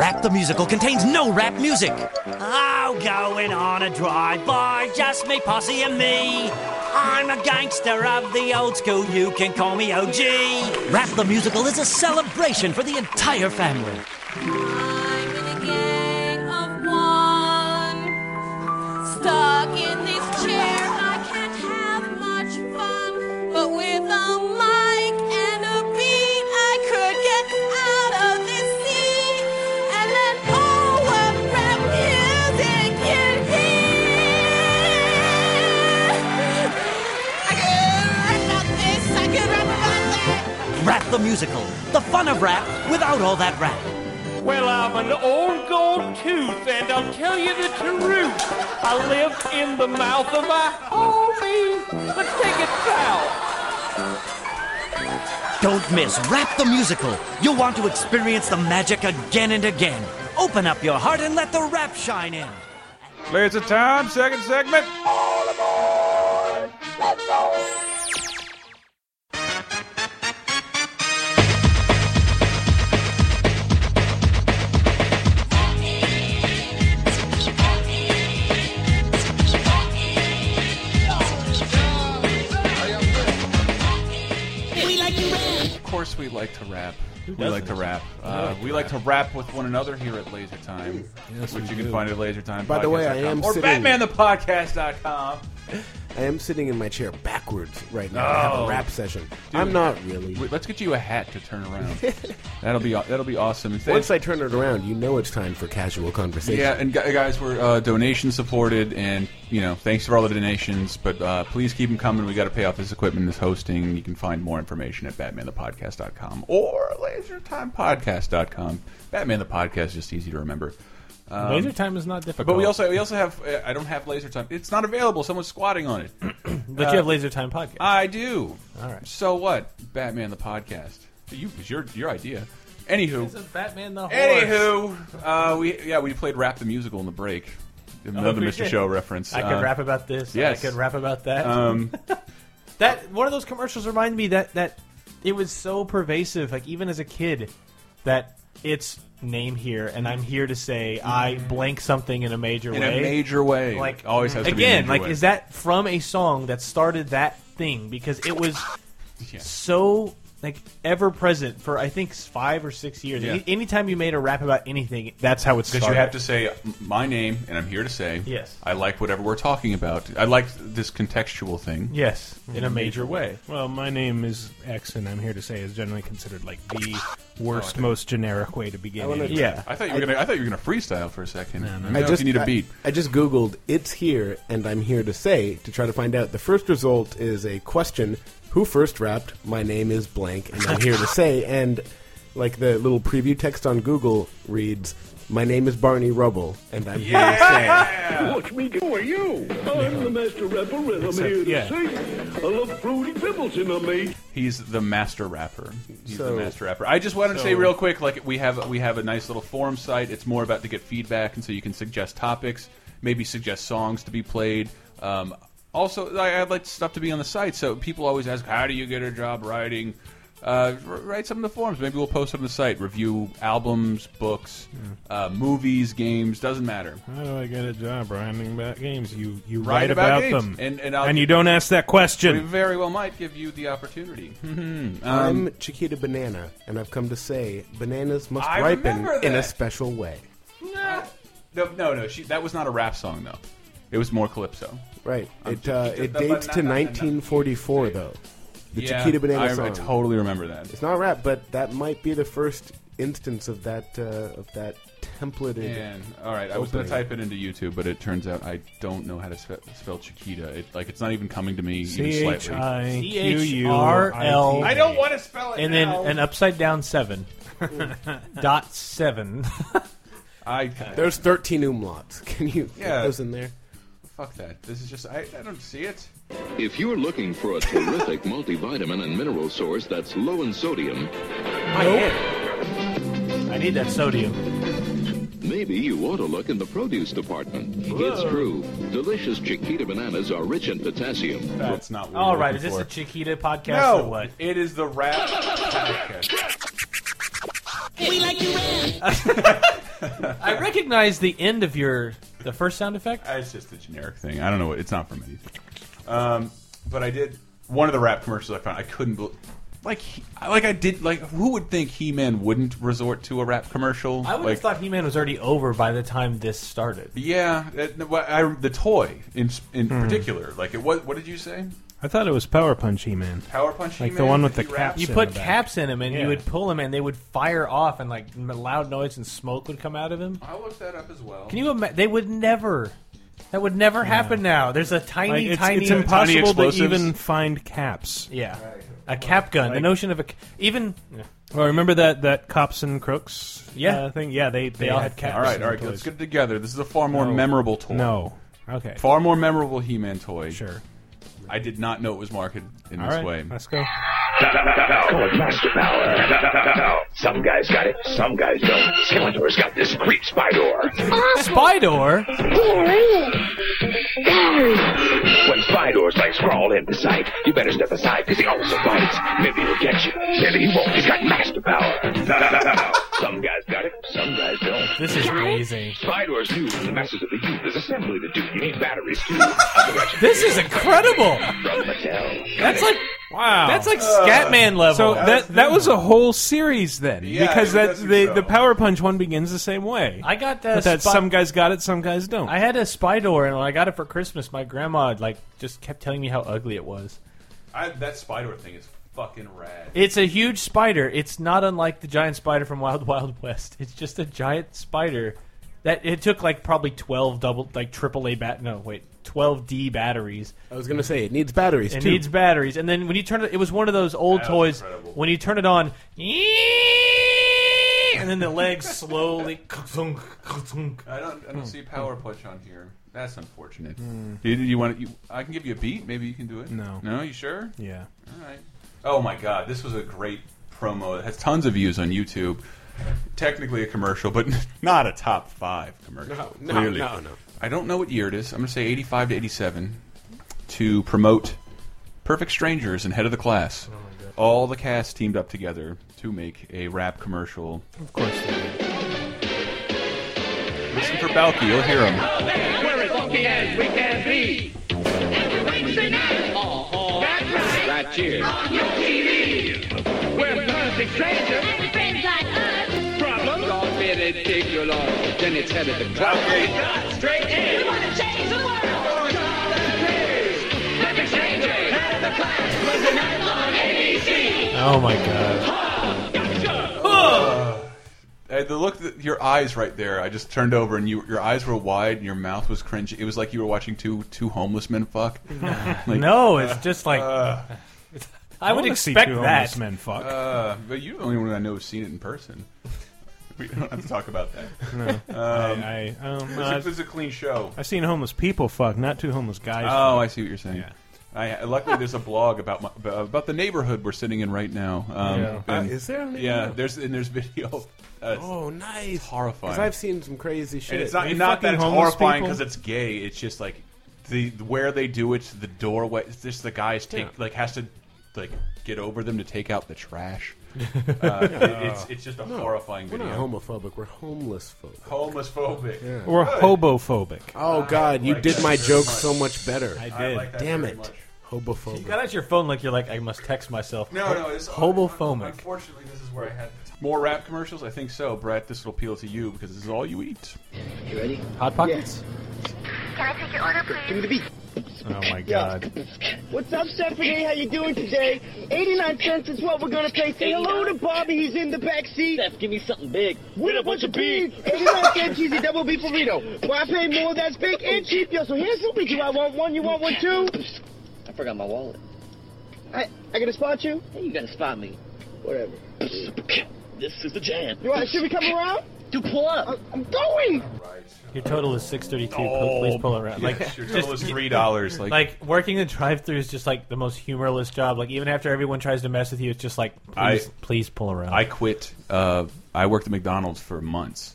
S13: Rap the Musical contains no rap music. Oh, going on a drive-by, just me, posse, and me. I'm a gangster of the old school, you can call me OG. Rap the Musical is a celebration for the entire family.
S15: Stuck in this chair, I can't have much fun. But with a mic and a beat, I could get out of this scene. And then all what rap music can be. I could rap about this, I could rap about that.
S13: Rap the Musical, the fun of rap without all that rap.
S8: Well, I'm an old gold tooth, and I'll tell you the truth. I live in the mouth of my homie. Let's take it south.
S13: Don't miss Rap the Musical. You'll want to experience the magic again and again. Open up your heart and let the rap shine in.
S3: Clears the time, second segment. Of course, we like to rap. We like to
S4: doesn't?
S3: rap.
S4: I
S3: Uh,
S4: like
S3: we
S4: to
S3: like to rap with one another here at Laser Time, which
S4: we
S3: you can
S4: do.
S3: find at LaserTime.
S4: By the way, I am
S3: or
S4: sitting-
S3: BatmanThePodcast.com.
S4: I am sitting in my chair backwards right now. I have
S3: Oh.
S4: a rap session.
S3: Dude.
S4: I'm not really.
S3: Wait, Let's get you a hat to turn around. that'll be aw- that'll be awesome. If they-
S4: Once I turn it around, you know it's time for casual conversation.
S3: Yeah, and gu- guys, we're uh, donation supported, and you know, thanks for all the donations. But uh, please keep them coming. We got to pay off this equipment, this hosting. You can find more information at BatmanThePodcast.com or LaserTimePodcast.com. Batman the podcast is just easy to remember. Um,
S5: Laser time is not difficult.
S3: But we also we also have uh, I don't have laser time. It's not available. Someone's squatting on it.
S6: But you have Laser Time podcast.
S3: I do. All right. So what? Batman the podcast. You it was your your idea. Anywho,
S6: Isn't Batman the horse?
S3: Anywho, uh, we yeah we played rap the musical in the break. Another
S6: we
S3: Mr.
S6: did.
S3: Show reference.
S6: I could
S3: Uh,
S6: rap about this.
S3: Yes.
S6: I could rap about that.
S3: Um,
S6: that one of those commercials reminded me that that it was so pervasive. Like even as a kid, that it's name here and I'm here to say I blank something in a major
S3: Uh, In a
S6: way.
S3: major way.
S6: Like
S3: Always has to be in a
S6: again.
S3: major
S6: like
S3: way.
S6: is that from a song that started that thing because it was so like ever present for I think s- five or six years.
S3: Yeah.
S6: Any, anytime you made a rap about anything, that's how it started.
S3: Because you have to say my name, and I'm here to say
S6: Yes.
S3: I like whatever we're talking about. I like this contextual thing.
S6: Yes, in a major way.
S5: Well, my name is X, and I'm here to say is generally considered like the
S3: Oh, I
S5: worst,
S3: think-
S5: most generic way to begin.
S3: I
S5: any
S3: wanna-
S5: rap.
S3: I thought you were gonna. I thought you were gonna freestyle for a second.
S5: no.
S3: I, just need a beat.
S4: I, I just googled "It's here" and "I'm here to say" to try to find out. The first result is a question: Who first rapped? My name is blank, and I'm here to say. And like the little preview text on Google reads, "My name is Barney Rubble, and I'm here to say."
S5: uh,
S9: Watch me do. Who are you? I'm the master rapper, and I'm
S3: Except-
S9: here to
S3: yeah.
S9: say I love fruity pebbles in a mate.
S3: He's the master rapper. He's
S9: So-
S3: the master rapper. I just wanted to
S9: so-
S3: say real quick, like we have we have a nice little forum site. It's more about to get feedback, and so you can suggest topics, maybe suggest songs to be played. Um, also, I, I'd like stuff to be on the site. So people always ask, how do you get a job writing? Uh, r- write some in the forums. Maybe we'll post them on the site. Review albums, books, uh, movies, games. Doesn't matter.
S5: How do I get a job writing about games? You you
S3: Write
S5: write,
S3: about
S5: about, them,
S3: games, and- and I'll-
S5: you don't ask that
S3: We
S5: question.
S3: very well might give you the opportunity. um,
S4: I'm Chiquita Banana, and I've come to say bananas must
S3: I
S4: ripen
S3: remember
S4: in a
S3: that.
S4: special way.
S3: No, no, no. She, that was not a rap song, though. It was more calypso.
S4: Right.
S3: I'm
S4: It uh,
S3: Chiquita
S4: it dates to
S3: Banana.
S4: 1944, though. The
S3: Yeah,
S4: Chiquita Banana
S3: I- I
S4: song.
S3: totally remember that.
S4: It's not rap, but that might be the first instance of that uh, of that templated.
S3: Man, all right. I was going to type
S4: opening.
S3: it into YouTube, but it turns out I don't know how to spe spell Chiquita. It, like, it's not even coming to me even
S5: C H I
S3: slightly.
S5: Q U I
S6: CHRL.
S5: T.
S6: I don't
S3: want to spell it
S6: and then
S3: now.
S6: an upside down seven dot seven.
S3: I
S4: There's 13 umlauts. Can you
S3: Yeah.
S4: get those in there?
S3: Fuck that. This is just I, I don't see it.
S16: If you're looking for a terrific multivitamin and mineral source that's low in sodium,
S6: I need that sodium.
S16: Mayo Maybe you ought to look in the produce department. It's true. Delicious Chiquita bananas are rich in potassium.
S3: That's not what
S6: All right, is this a Chiquita podcast
S3: No,
S6: or what?
S3: It is the rap podcast.
S8: We like you red.
S6: I recognize the end of your the first sound effect.
S3: It's just a generic thing. I don't know. what- It's not from anything. Um, but I did one of the rap commercials. I found I couldn't believe. Like, he- like I did. Like, who would think He-Man wouldn't resort to a rap commercial?
S6: I would
S3: like,
S6: have thought He Man was already over by the time this started.
S3: Yeah, it, no, I, the toy in in
S5: Hmm.
S3: particular. Like, it, what what did you say?
S5: I thought it was Power Punch He Man.
S3: Power Punch
S5: Like the
S3: He-Man?
S5: one with the
S3: He raps
S5: caps.
S6: You
S5: in
S6: put
S5: the back.
S6: caps in him, and
S5: Yeah.
S6: you would pull him, and they would fire off, and like m- loud noise and smoke would come out of him.
S3: I looked that up as well.
S6: Can you imagine? They would never. That would never happen now. There's a tiny,
S5: Like, it's,
S6: tiny.
S5: it's impossible to even find caps.
S6: Yeah, a cap gun. the
S5: Like-
S6: notion of a c- even.
S5: Well, Oh, remember that that cops and crooks
S6: Yeah.
S5: uh, thing? Yeah, they they,
S6: They all
S5: all
S6: had
S5: had caps.
S3: All right,
S5: in
S3: all right.
S5: their
S3: Let's
S5: toys.
S3: get it together. This is a far more
S5: No.
S3: memorable toy.
S5: No. Okay.
S3: Far more memorable He-Man toy.
S5: Sure.
S3: I did not know it was marketed in
S5: All
S3: this
S5: right,
S3: way.
S5: Let's go.
S9: Call it master power. Pow, pow, pow, pow. Some guys got it, some guys don't. Skeletor's got this creep Spidor.
S6: Spidor.
S9: When Spidor's legs crawl into sight, you better step aside because he also bites. Maybe he'll get you, maybe he won't. He's got master power. Pow, pow, pow, pow. Some guys got it, some guys don't.
S6: This is amazing.
S9: Spidor's new from the masters of the youth. There's assembly to do. You need batteries too. Other action
S6: This is incredible.
S9: From Mattel.
S6: That's like
S5: Wow, Uh,
S6: That's like Scatman level.
S5: So that that was a whole series then,
S6: Yeah,
S5: because
S6: I
S5: that
S6: would guess
S5: the,
S6: so.
S5: the Power Punch one begins the same way.
S6: I got the
S5: But that
S6: spot-
S5: some guys got it, some guys don't.
S6: I had a Spidor, and when I got it for Christmas, my grandma like just kept telling me how ugly it was.
S3: I, that Spider thing is fucking rad.
S6: It's a huge spider. It's not unlike the giant spider from Wild Wild West. It's just a giant spider that it took like probably twelve double like triple A bat no wait twelve D batteries.
S4: I was gonna say it needs batteries
S6: It
S4: too.
S6: needs batteries, and then when you turn it, it was one of those old
S4: That was
S6: toys. When you turn it on, and then the legs slowly.
S3: I don't, I
S5: Hmm.
S3: don't see Power Punch on here. That's unfortunate. Do, you want? You, I can give you a beat. Maybe you can do it.
S5: No.
S3: No, you sure?
S5: Yeah.
S3: All right. Oh my God, this was a great promo. It has tons of views on YouTube. Technically a commercial, but not a top five commercial.
S4: No, no,
S3: clearly.
S4: no, no.
S3: I don't know what year it is. I'm going to say 85 to 87 to promote Perfect Strangers and Head of the Class. All the cast teamed up together to make a rap commercial. Of course they did. Listen for Balky, you'll hear him.
S12: We're as lucky as we can be. Every Wednesday night. That's right.
S16: Right here.
S12: On your TV. We're perfect strangers. And friends like us. Problems. All
S16: ridiculous. Then it's headed to
S12: straight in. We want to change the world. Perfect strangers. Head of the class. Wednesday night on ABC.
S6: Oh my god!
S3: Uh, the look that your eyes right there. I just turned over and you, your eyes were wide and your mouth was cringy. It was like you were watching two two homeless men fuck.
S4: Mm-hmm.
S3: Like,
S6: no, it's just like I would
S5: wanna see
S6: expect
S5: two
S6: that.
S5: homeless men fuck.
S3: Uh, but you're the only one I know who's seen it in person. We don't have to talk about that.
S5: No.
S3: Um,
S5: I- I- um,
S3: this,
S5: uh,
S3: is, this is a clean show.
S5: I've seen homeless people fuck, not two homeless guys.
S3: Oh, I see what you're saying. I, luckily, there's a blog about my, about the neighborhood we're sitting in right now. Um,
S4: Yeah.
S3: and-
S4: Uh, is there a
S3: Yeah,
S4: neighborhood?
S3: there's and there's video. Uh,
S4: Oh, nice!
S3: horrifying.
S4: Because I've seen some crazy shit.
S3: And it's not, not that it's horrifying because it's gay. It's just like the where they do it, the doorway. It's just the guys take
S4: Yeah.
S3: like has to like get over them to take out the trash. Uh, it- it's it's just a
S4: No,
S3: horrifying
S4: We're
S3: video.
S4: not homophobic. We're homeless phobic.
S3: Homeless phobic.
S5: Or hobophobic.
S4: Oh God, you
S3: like
S4: did
S3: that
S4: my
S3: very
S4: joke
S3: much.
S4: so much better.
S3: I did. I like that
S4: Damn
S3: very
S4: it,
S3: much.
S4: hobophobic.
S6: You got out your phone like you're like I must text myself.
S3: No, no, it's
S6: hobophobic.
S3: Unfortunately, this is where I had more rap commercials. I think so, Brett. This will appeal to you because this is all you eat.
S8: You ready?
S6: Hot pockets.
S8: Can I take your order, please? Give me the beat.
S6: Oh my god!
S8: What's up, Stephanie? How you doing today? 89 cents is what we're gonna pay. Say hello to Bobby. He's in the back seat. Steph, give me something big. With a bunch of beef. 89 cent cheesy double beef burrito. Why pay more? That's big and cheap, yo. So here's something you. I want one. You want one too?
S17: I forgot my wallet.
S8: I I gotta spot you.
S17: Hey, you gotta spot me.
S8: Whatever.
S17: This is the jam.
S8: You want, should we come around?
S17: Do pull up.
S8: I'm going.
S6: Your total is six thirty two.
S3: Oh,
S6: Please pull it around.
S3: yes,
S6: Like
S3: your total is $3, like-
S6: working the drive through is just like the most humorless job. Like even after everyone tries to mess with you, it's just like please,
S3: I-
S6: please pull around.
S3: I quit. Uh, I worked at McDonald's for months,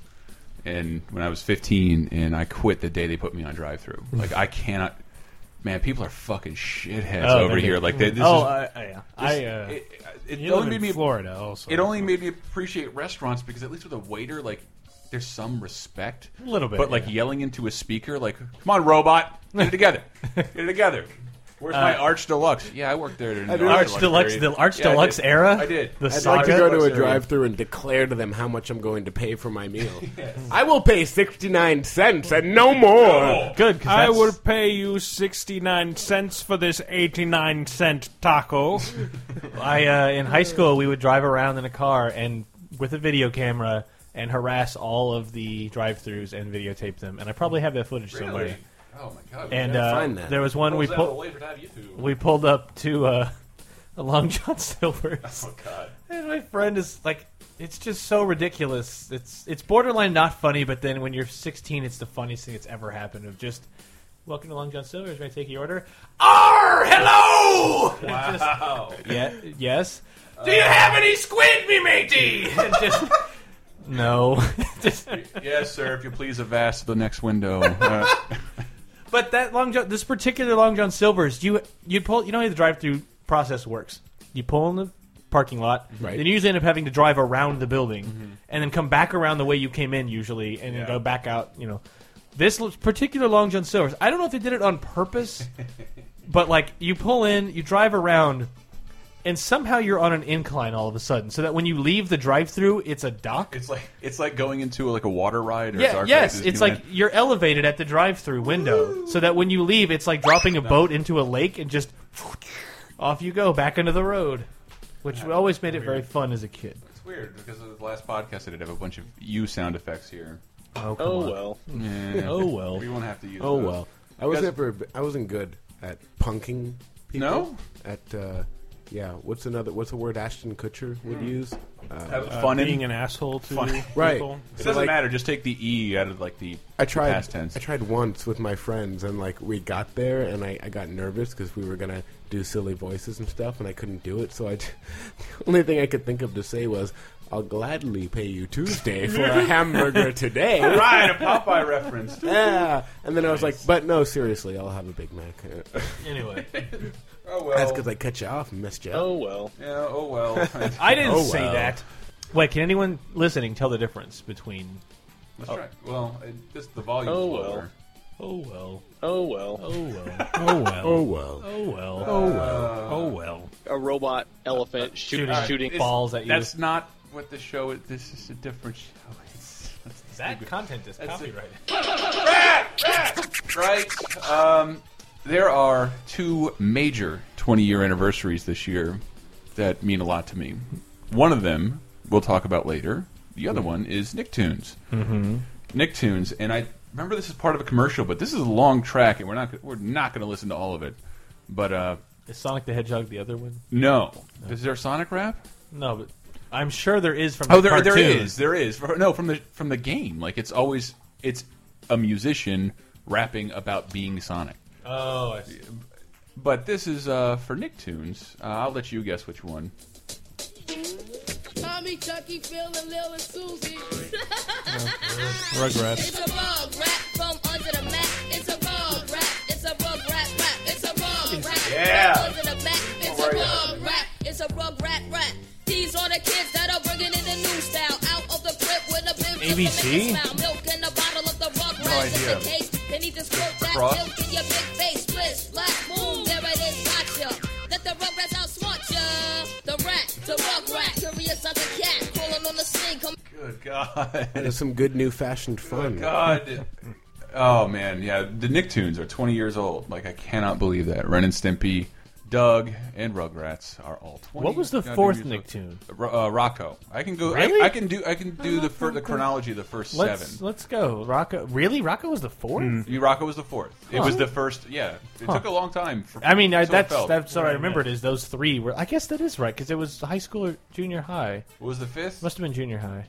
S3: and when I was 15, and I quit the day they put me on drive through.
S6: Hmm.
S3: Like I cannot, man. People are fucking shitheads
S6: Oh,
S3: over
S6: they-
S3: here. Like they, this
S6: oh,
S3: is.
S6: I- I- yeah. I, uh,
S3: it, it
S6: you live
S3: only
S6: in
S3: made me
S6: Florida also.
S3: It only made me appreciate restaurants because at least with a waiter, like there's some respect,
S6: A little bit,
S3: But like yelling into a speaker, like "Come on, robot, get it together, get it together." Where's my
S6: Uh,
S3: Arch Deluxe? Yeah, I worked there. during
S6: I
S3: the
S6: do. Arch Deluxe-
S3: period.
S6: the Arch
S3: Yeah, I did.
S6: Deluxe era?
S3: I did.
S6: The
S4: I'd like to
S6: saga?
S4: go to a
S6: Luxury.
S4: drive-through and declare to them how much I'm going to pay for my meal. I will pay sixty-nine cents and no more.
S6: Good.
S5: I will pay you sixty-nine cents for this eighty-nine cent taco.
S6: I uh, in high school we would drive around in a car and with a video camera and harass all of the drive-throughs and videotape them. And I probably have that footage somewhere.
S3: Oh my god!
S6: And uh, there was one we pulled. We pulled up to uh, a Long John Silver's. Oh
S3: god!
S6: And my friend is like, it's just so ridiculous. It's it's borderline not funny, but then when you're 16, it's the funniest thing that's ever happened. Of just welcome to Long John Silver's. May I take your order? R, hello.
S11: Wow.
S6: yeah. Yes.
S11: Do you have any squid, me matey?
S6: And just- No.
S3: yes, sir. If you please, avast the next window. Uh,
S6: But that long john, this particular long john silver's, you you pull, you know how the drive-through process works. You pull in the parking lot,
S4: Right.
S6: then you usually end up having to drive around the building, and then come back around the way you came in usually, and then go back out. You know, this l- particular long john silver's, I don't know if they did it on purpose, but like you pull in, you drive around. And somehow you're on an incline all of a sudden, so that when you leave the drive-through, it's a dock.
S3: It's like it's like going into like a water ride. Or
S6: Yeah,
S3: Zarkos
S6: yes,
S3: Disneyland.
S6: it's like you're elevated at the drive-through window, so that when you leave, it's like dropping a boat into a lake and just off you go back into the road, which always made it very fun as a kid.
S3: It's weird because of the last podcast I did have a bunch of you sound effects here.
S6: Oh,
S4: come Oh, on. well.
S3: Yeah.
S4: Oh, well.
S3: We won't have to use.
S4: Oh
S3: those.
S4: well, I was
S3: Guys-
S4: never. I wasn't good at punking people.
S3: No?
S4: At uh, yeah, what's another? What's a word Ashton Kutcher would use? Uh,
S3: Have fun in- Fun-
S4: right?
S3: It
S4: So,
S3: doesn't
S4: like,
S3: matter. Just take the e out of like the
S4: I tried.
S3: past tense.
S4: I tried once with my friends, and like we got there, and I, I got nervous because we were gonna do silly voices and stuff, and I couldn't do it. So I, j- the only thing I could think of to say was, "I'll gladly pay you Tuesday for a hamburger today."
S3: right, a Popeye reference.
S4: Yeah, and then I was like, "But no, seriously, I'll have a Big Mac." Uh,
S6: Anyway.
S3: oh
S4: that's because I cut you off and missed you.
S6: Oh,
S4: well.
S3: Yeah. Oh well.
S6: I didn't
S4: Oh,
S6: say
S4: well.
S6: that. Wait, can anyone listening tell the difference between?
S3: Let's try. Well, it, just the volume.
S6: Oh, well.
S3: lower.
S6: Oh well.
S17: Oh well.
S6: Oh well. Oh well.
S4: Oh well.
S6: Oh well.
S17: Oh,
S6: well. Oh well.
S17: A robot elephant shooting
S6: shooting-
S17: shooting
S6: it's- balls at you.
S3: uh, That's not what the show. Is. This is a different show. It's, it's
S6: That content is
S3: That's it.
S6: copyrighted.
S3: right. Um, there are two major 20 year anniversaries this year that mean a lot to me. One of them we'll talk about later. The other one is Nicktoons.
S5: Mhm.
S3: Nicktoons, and I remember this is part of a commercial, but this is a long track, and we're not we're not going to listen to all of it. But uh,
S6: Is Sonic the Hedgehog the other one?
S3: no, is there Sonic rap?
S6: No, but I'm sure there is from.
S3: Oh,
S6: the
S3: there there
S6: cartoon.
S3: is there is no from the from the game. Like it's always it's a musician rapping about being Sonic.
S6: Oh, I see.
S3: But this is uh, for Nicktoons. Uh, I'll let you guess which one.
S18: Tommy, Chucky, Phil, and Lil, and Susie.
S3: Rugrats.
S18: It's a bug rap from under the mat. It's a bug rap. It's a bug rap rap. It's a bug rap.
S11: Yeah.
S18: From under the mat. It's a bug rap. It's a bug rap rap. These are the kids that are bringing in the new style. Out of the crib with a bib. just to make
S11: ABC?
S18: a smile. Milk in the bottle of the rug
S11: No
S18: rats in the
S11: idea.
S18: case. They need to squirt that
S11: Cross?
S18: milk in your big face. Split, splash, boom. There it is. Gotcha. Let the rug rats outsmart ya. The rat, the rug rat. Curious as a cat. Crawling on the sink. Come
S3: Good God.
S4: That is some good new fashioned fun.
S3: God. Oh man, yeah. The Nicktoons are 20 years old. Like I cannot believe that. Ren and Stimpy, Doug, and Rugrats are all 20.
S6: What was the
S3: goddamn
S6: fourth
S3: years old.
S6: Nicktoon?
S3: Ro- Uh, Rocco. I can go. I-
S6: Really?
S3: I, can do. I can do the fir- the chronology of the 1st
S6: Let's
S3: seven. Mm.
S6: let's go. Rocco, really? Rocco was the fourth.
S3: You Rocco was the fourth. It
S6: Huh.
S3: was the first. Yeah, it
S6: Huh.
S3: took a long time. For,
S6: I mean, I,
S3: so it
S6: that's
S3: felt.
S6: that's what I remembered is those three were. I guess that is right because it was high school or junior high.
S3: What was the fifth?
S6: Must have been junior high.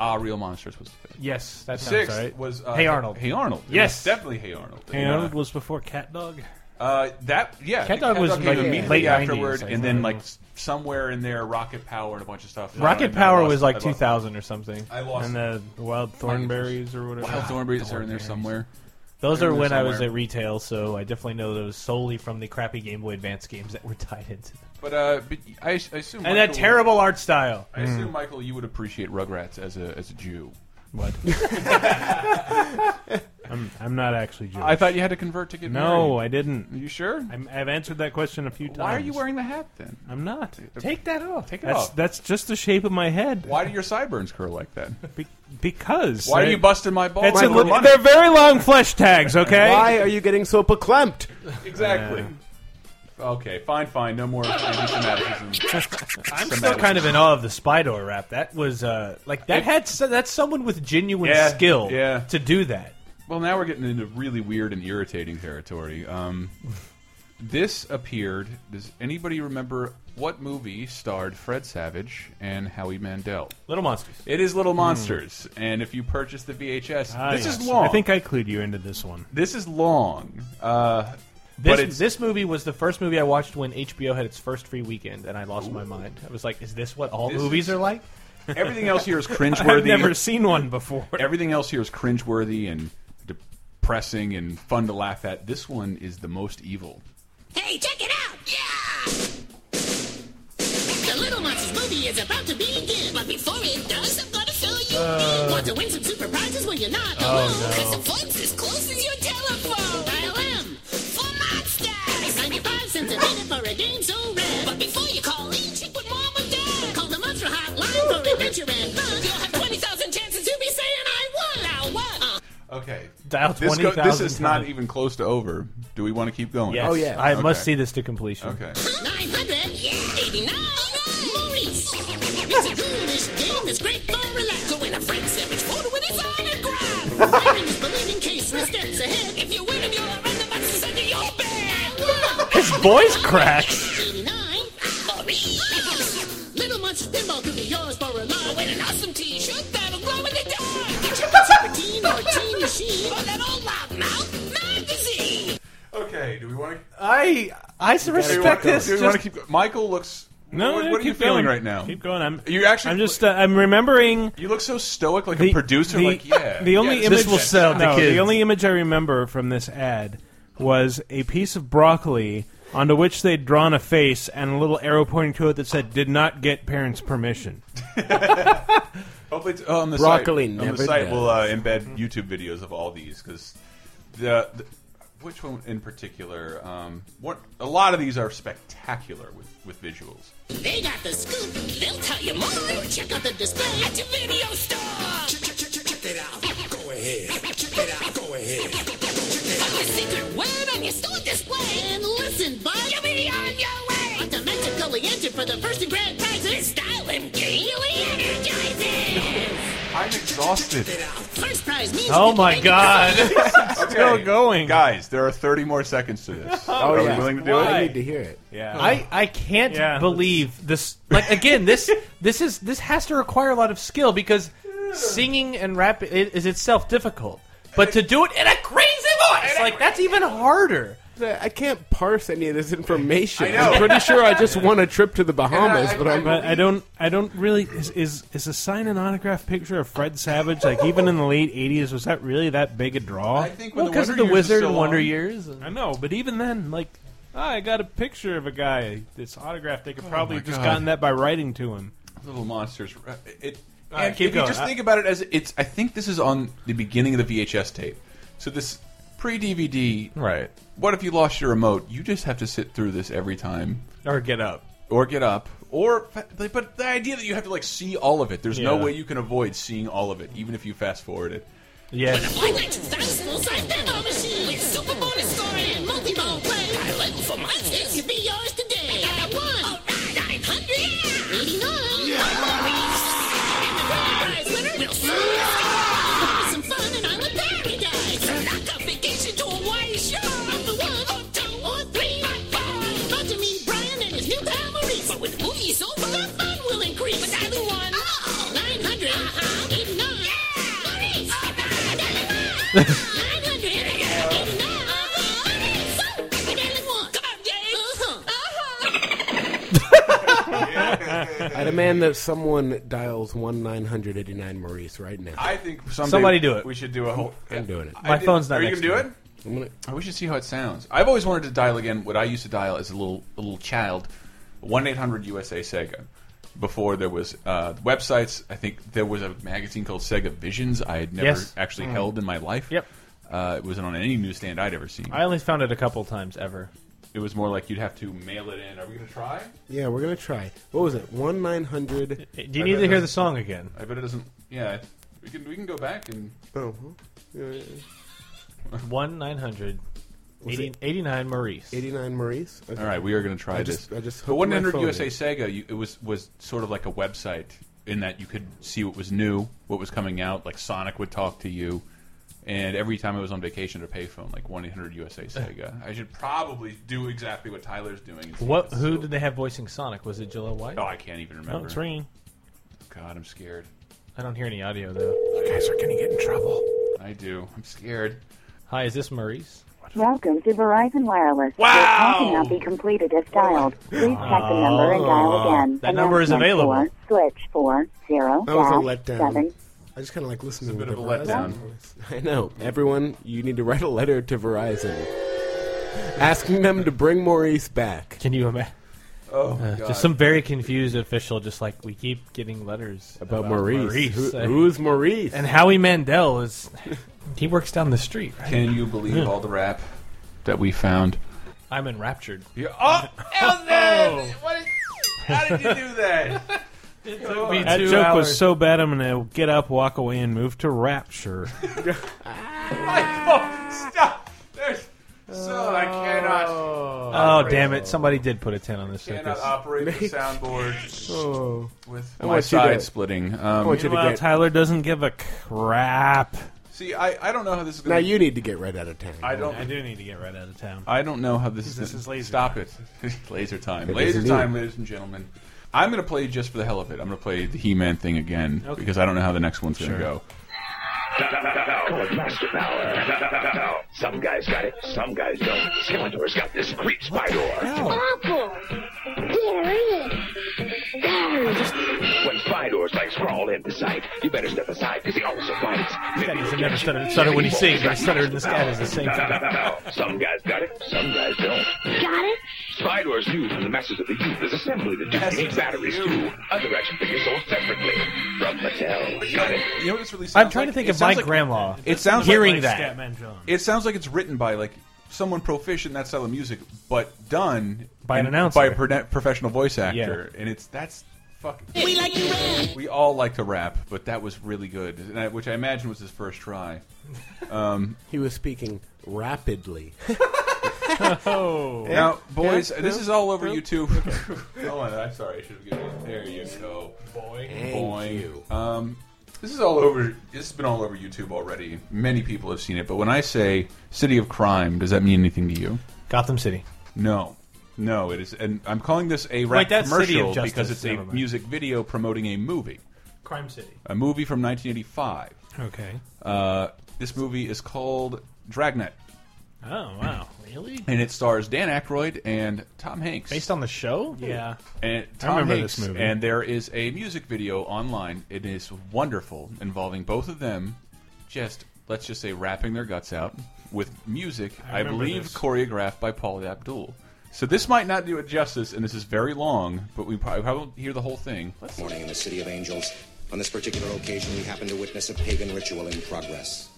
S3: Ah, Real Monsters was the fifth.
S6: Yes, that sounds
S3: sixth
S6: right.
S3: was uh,
S6: Hey Arnold.
S3: Hey Arnold. It
S6: Yes.
S3: was definitely Hey Arnold.
S5: Hey
S3: And, uh,
S5: Arnold was before Cat Dog.
S3: Uh, that yeah,
S6: Cat Dog was,
S3: came
S6: like,
S3: immediately
S6: late 90s,
S3: afterward,
S6: I
S3: and then
S6: think.
S3: like s- somewhere in there, Rocket Power and a bunch of stuff.
S6: Rocket
S3: And I
S6: Power
S3: lost-
S6: was
S3: I
S6: like
S3: lost-
S6: 2000 or something.
S3: I lost-
S6: And the, the Wild Thornberries or whatever.
S3: Wild Thornberries are in there somewhere.
S6: Those
S3: They're
S6: are
S3: in there
S6: when I was
S3: somewhere.
S6: at retail, so I definitely know those solely from the crappy Game Boy Advance games that were tied into them.
S3: But uh, but I, I assume
S6: And that
S3: Michael-
S6: terrible Mm. art style.
S3: I assume Michael, you would appreciate Rugrats as a as a Jew.
S6: What?
S5: I'm, I'm not actually Jewish.
S3: I thought you had to convert to get
S5: no,
S3: married.
S5: I didn't.
S3: Are you sure?
S5: I'm, I've answered that question a few times.
S3: Why are you wearing the hat then?
S5: I'm not.
S6: Take that off. Take
S3: it
S5: That's,
S3: off.
S5: that's just the shape of my head.
S3: Why do your sideburns curl like that?
S5: Be- because.
S3: Why are
S5: I-
S3: you busting my balls?
S5: It's a
S3: for
S5: li-
S3: money?
S5: they're very long flesh tags, okay?
S4: Why are you getting so beclamped?
S3: Exactly. Okay, fine, fine. No more anti-Semitism.
S6: I'm still kind of in awe of the Spydor rap. That was uh, like that
S3: It-
S6: had so, that's someone with genuine
S3: Yeah,
S6: skill
S3: yeah.
S6: to do that.
S3: Well, now we're getting into really weird and irritating territory. Um, this appeared. Does anybody remember what movie starred Fred Savage and Howie Mandel?
S6: Little Monsters.
S3: It is Little Monsters, and if you purchase the VHS,
S5: Hmm. Ah,
S3: this
S5: yes.
S3: is long.
S5: I think I clued you into this one.
S3: this is long. Uh, but
S6: This,
S3: it's
S6: this movie was the first movie I watched when HBO had its first free weekend, and I lost my mind. I was like, "Is this what all
S3: This
S6: movies
S3: is-
S6: are like?"
S3: everything else here is cringeworthy.
S5: I've never seen one before.
S3: Everything else here is cringeworthy and depressing and fun to laugh at. This one is the most evil.
S15: Hey, check it out! Yeah! The Little Monsters movie is about to begin, but before it does, I'm gonna fill you in. Want to win some super prizes? Well, you're not
S11: Uh. Oh,
S15: alone,
S11: no.
S15: because the vote's as close as your telephone. Dial M for Monsters! 95 cents a minute for a game so rare. But before you call in, check with Mom or Dad. Call the Monster Hotline for adventure and fun. You'll have 20,000 chances to be saying I won! I won! Uh,
S3: Okay.
S6: Dial
S3: This, go-
S6: 20,000
S3: this is not
S6: times.
S3: even close to over. Do we want to keep going?
S5: Oh,
S6: Yes. I must see this to completion.
S3: Oh, Okay.
S15: 900, yeah, 89. Maurice. It's a foolish game that's great for relax. Go in a Frank Savage photo with his autograph. Wearing is believing case three steps ahead. If you win him, you'll run the boxes under your bed.
S6: His voice cracks.
S15: 89. Maurice. Little Monster Pinball could be yours for a lot. Win an awesome t-shirt that'll glow in the dark. Get your super teen or teen machine or that old loudmouth magazine.
S3: Okay. Do we want to?
S6: I I respect this.
S3: Do we want to
S6: just-
S3: keep? go- Michael looks.
S5: No,
S3: What,
S5: no,
S3: what are
S5: keep
S3: you
S5: going.
S3: feeling right now?
S5: Keep going. I'm.
S3: You actually.
S5: I'm just. Uh, I'm remembering.
S3: you look so stoic, like
S5: the-
S3: a producer.
S5: the-
S3: like yeah.
S5: The only
S3: yeah,
S5: image
S6: to
S5: no,
S6: kids.
S5: The only image I remember from this ad was a piece of broccoli onto which they'd drawn a face and a little arrow pointing to it that said "Did not get parents' permission."
S3: Hopefully, it's on the
S4: Broccoli
S3: site. on
S4: never
S3: the site,
S4: does.
S3: we'll uh, embed YouTube videos of all these because the, the which one in particular? Um, what a lot of these are spectacular with with visuals.
S15: They got the scoop. They'll tell you more. Check out the display at your video store. Check, check, check, check, check it out. Go ahead. Check it out. Go ahead. Find your secret word on your store display. And listen, bud, you'll be on your way. But to mention Gully Engine for the first and grand prizes, style and gaily energizing.
S3: I'm exhausted.
S15: First prize means
S6: Oh
S15: you can
S6: my
S15: make a
S6: God.
S15: decision.
S3: Still going, guys. There are 30 more seconds to this.
S4: Oh,
S3: are
S4: yeah.
S3: we willing to do
S4: I
S3: it?
S4: need to hear it.
S5: Yeah.
S6: I, I can't
S5: Yeah.
S6: believe this. Like again, this this is this has to require a lot of skill because singing and rap i- is itself difficult. But to do it in a crazy voice, like that's even harder.
S4: I can't parse any of this information.
S3: I know.
S4: am pretty sure I just won a trip to the Bahamas,
S3: I-
S4: but I'm.
S5: But I don't. I don't really. Is is, is a sign and autograph picture of Fred Savage like even in the late '80s? Was that really that big a draw?
S3: I think when
S6: Well,
S3: the
S6: because of
S3: Wonder
S6: the
S3: Years is
S6: Wizard
S3: so
S6: and Wonder
S3: long-
S6: Years. and-
S5: I know, but even then, like, ah, I got a picture of a guy that's autographed. They could
S4: Oh
S5: probably
S3: my
S5: have just
S3: God.
S5: gotten that by writing to him.
S3: Little monsters. uh, It.
S5: All right,
S3: and
S5: keep
S3: if
S5: going.
S3: you just
S5: I-
S3: think about it as it's, I think this is on the beginning of the VHS tape. So this pre-DVD.
S6: Right.
S3: What if you lost your remote? You just have to sit through this every time,
S6: Or get up.
S3: or get up, or. But the idea that you have to like see all of it. There's no
S6: Yeah.
S3: way you can avoid seeing all of it, even if you fast forward it.
S6: Yes.
S15: Why not thousand full size pinball machine with super bonus scoring and multi ball play? I level for monsters. It could be yours today. I got one. All right, 900. Yeah. 89. Yeah. And the grand prize winner will see some fun in Island Paradise. Knock out vacation to Hawaii shore. Number one or two or three or four. About to meet Brian and his new pal Maurice. But when the movie's over, the fun will increase. But either one. Oh. 900. Uh-huh. 89. Yeah. Maurice. All right. 900. 89. Maurice. Uh-huh.
S4: I demand that someone dials one nine hundred eighty nine Maurice right now.
S3: I think someday
S6: Somebody do it.
S3: We should do a whole.
S4: I'm doing it.
S3: I
S4: My
S3: did-
S4: phone's not
S3: Are you
S4: next
S3: gonna do
S4: to
S3: it? I wish to see how it sounds. I've always wanted to dial again what I used to dial as a little a little child, one eight hundred USA Sega. Before there was uh, websites, I think there was a magazine called Sega Visions. I had never
S6: Yes.
S3: actually
S6: Mm.
S3: held in my life. Yep, uh, it wasn't on any newsstand I'd ever seen.
S6: I only found it a couple times ever.
S3: It was more like you'd have to mail it in. Are we gonna try?
S4: Yeah, we're gonna try. What was it? One nine hundred. Do
S6: Eh, you need to hear the song again?
S3: I bet it doesn't. Yeah, we can we can go back and.
S4: Oh.
S6: One nine hundred.
S4: Was it-
S6: 89 Maurice.
S4: 89 Maurice? Okay.
S3: All right, we are going to try
S4: I
S3: this.
S4: just- I just
S3: but
S4: hooked my
S3: 100
S4: phone
S3: USA
S4: in.
S3: Sega, you, it was was sort of like a website in that you could see what was new, what was coming out. Like Sonic would talk to you, and every time I was on vacation at a payphone, like 1 800 USA Sega. I should probably do exactly what Tyler's doing. and see
S6: What?
S3: if it's
S6: Who
S3: still-
S6: did they have voicing Sonic? Was it Jaleel White?
S3: Oh, I can't even remember.
S6: Oh, it's ringing.
S3: God, I'm scared.
S6: I don't hear any audio though. You guys are gonna get in trouble.
S3: I do. I'm scared.
S6: Hi, is this Maurice?
S19: Welcome to Verizon Wireless. Wow! Your call cannot be completed if dialed. Please check the number and dial again.
S6: Oh That number is
S19: Announcement
S6: available.
S19: Four, switch four zero
S4: That was a
S19: dash
S4: letdown.
S19: seven.
S4: I just kind of like listening
S3: It's a
S4: to
S3: bit
S4: the
S3: of a
S4: Verizon
S3: letdown.
S4: voice. I know. Everyone, you need to write a letter to Verizon asking them to bring Maurice back.
S6: Can you imagine?
S3: Oh,
S6: Uh, just some very confused official, just like we keep getting letters
S4: About Maurice. Who-
S6: Uh,
S4: who's Maurice?
S6: And Howie Mandel is. He works down the street. Right?
S3: Can you believe
S6: Yeah.
S3: all the rap that we found?
S6: I'm enraptured.
S3: Oh,
S6: Oh.
S3: What is, how did you do that?
S6: me
S5: That
S6: two
S5: joke
S6: hours.
S5: was so bad, I'm gonna get up, walk away, and move to Rapture.
S3: stop. There's so I cannot.
S6: Oh, damn it! Somebody did put a ten on this.
S3: Cannot
S6: circus.
S3: operate the soundboard
S4: Oh.
S3: with
S5: I
S3: my
S5: want you to-
S3: side splitting.
S5: I
S3: Um,
S5: want you to Meanwhile, get- Tyler doesn't give a crap.
S3: See, I, I don't know how this is going.
S5: Now you
S4: need to get right out of town.
S3: I don't.
S5: I do need to get right out of town.
S3: I don't know how this is.
S5: This
S3: gonna-
S5: is laser.
S3: Stop it. laser time.
S5: It
S3: laser
S5: is
S3: time,
S5: indeed.
S3: ladies and gentlemen. I'm going to play just for the hell of it. I'm going to play the He-Man thing again
S5: Okay.
S3: because I don't know how the next one's going
S5: Sure.
S3: to go.
S9: Call it Master Power. Some guys got it, some guys don't. Skeletor's got this great Spydor.
S15: Apple! There it is! There!
S9: When Spydor's legs crawl into sight, you better step aside because he also bites.
S6: That doesn't never stutter. It stutter when he sings, but stutter in the sky does the same
S9: thing. Some guys got it, some guys don't.
S15: Got it?
S9: Spydor's new from the Masters of the Youth is assembly the Duke needs batteries too. Other action figures sold separately from Mattel. Got it.
S3: You know what this really sounds
S6: I'm trying to
S3: like?
S6: think
S3: It
S6: of my
S3: sounds like-
S6: grandma.
S3: It sounds
S6: hearing
S3: like,
S6: that.
S3: It sounds like it's written by like someone proficient in that style of music, but done
S6: By an
S3: in-
S6: announcer.
S3: by a pro- professional voice actor, and it's that's fuck.
S15: We like to rap.
S3: We all like to rap, but that was really good, and I, which I imagine was his first try. Um,
S4: he was speaking rapidly.
S3: Now, boys,
S4: Yeah,
S3: this
S4: yeah.
S3: is all over
S4: Yeah.
S3: YouTube. oh, I'm sorry. I should have given it. There you go. Boing.
S4: Thank
S3: Boing. Um, this is all over. This has been all over YouTube already. Many people have seen it. But when I say City of Crime, does that mean anything to you?
S6: Gotham City.
S3: No. No, it is. And I'm calling this a rap
S6: Wait, that's City of
S3: commercial
S6: Justice.
S3: because it's a
S6: Never mind.
S3: music video promoting a movie.
S6: Crime City.
S3: A movie from 1985.
S5: Okay.
S3: Uh, this movie is called Dragnet.
S5: Oh wow, really?
S3: And it stars Dan Aykroyd and Tom Hanks.
S6: Based on the show?
S5: Yeah.
S3: And
S5: I
S3: Tom
S5: remember
S3: Hanks,
S5: this movie.
S3: And there is a music video online. It is wonderful, involving both of them, just let's just say rapping their guts out with music.
S5: I
S3: I,
S5: remember
S3: believe
S5: this.
S3: choreographed by Paul Abdul. So this might not do it justice, and this is very long, but we probably we won't hear the whole thing.
S20: Morning in the City of Angels. On this particular occasion, we happen to witness a pagan ritual in progress.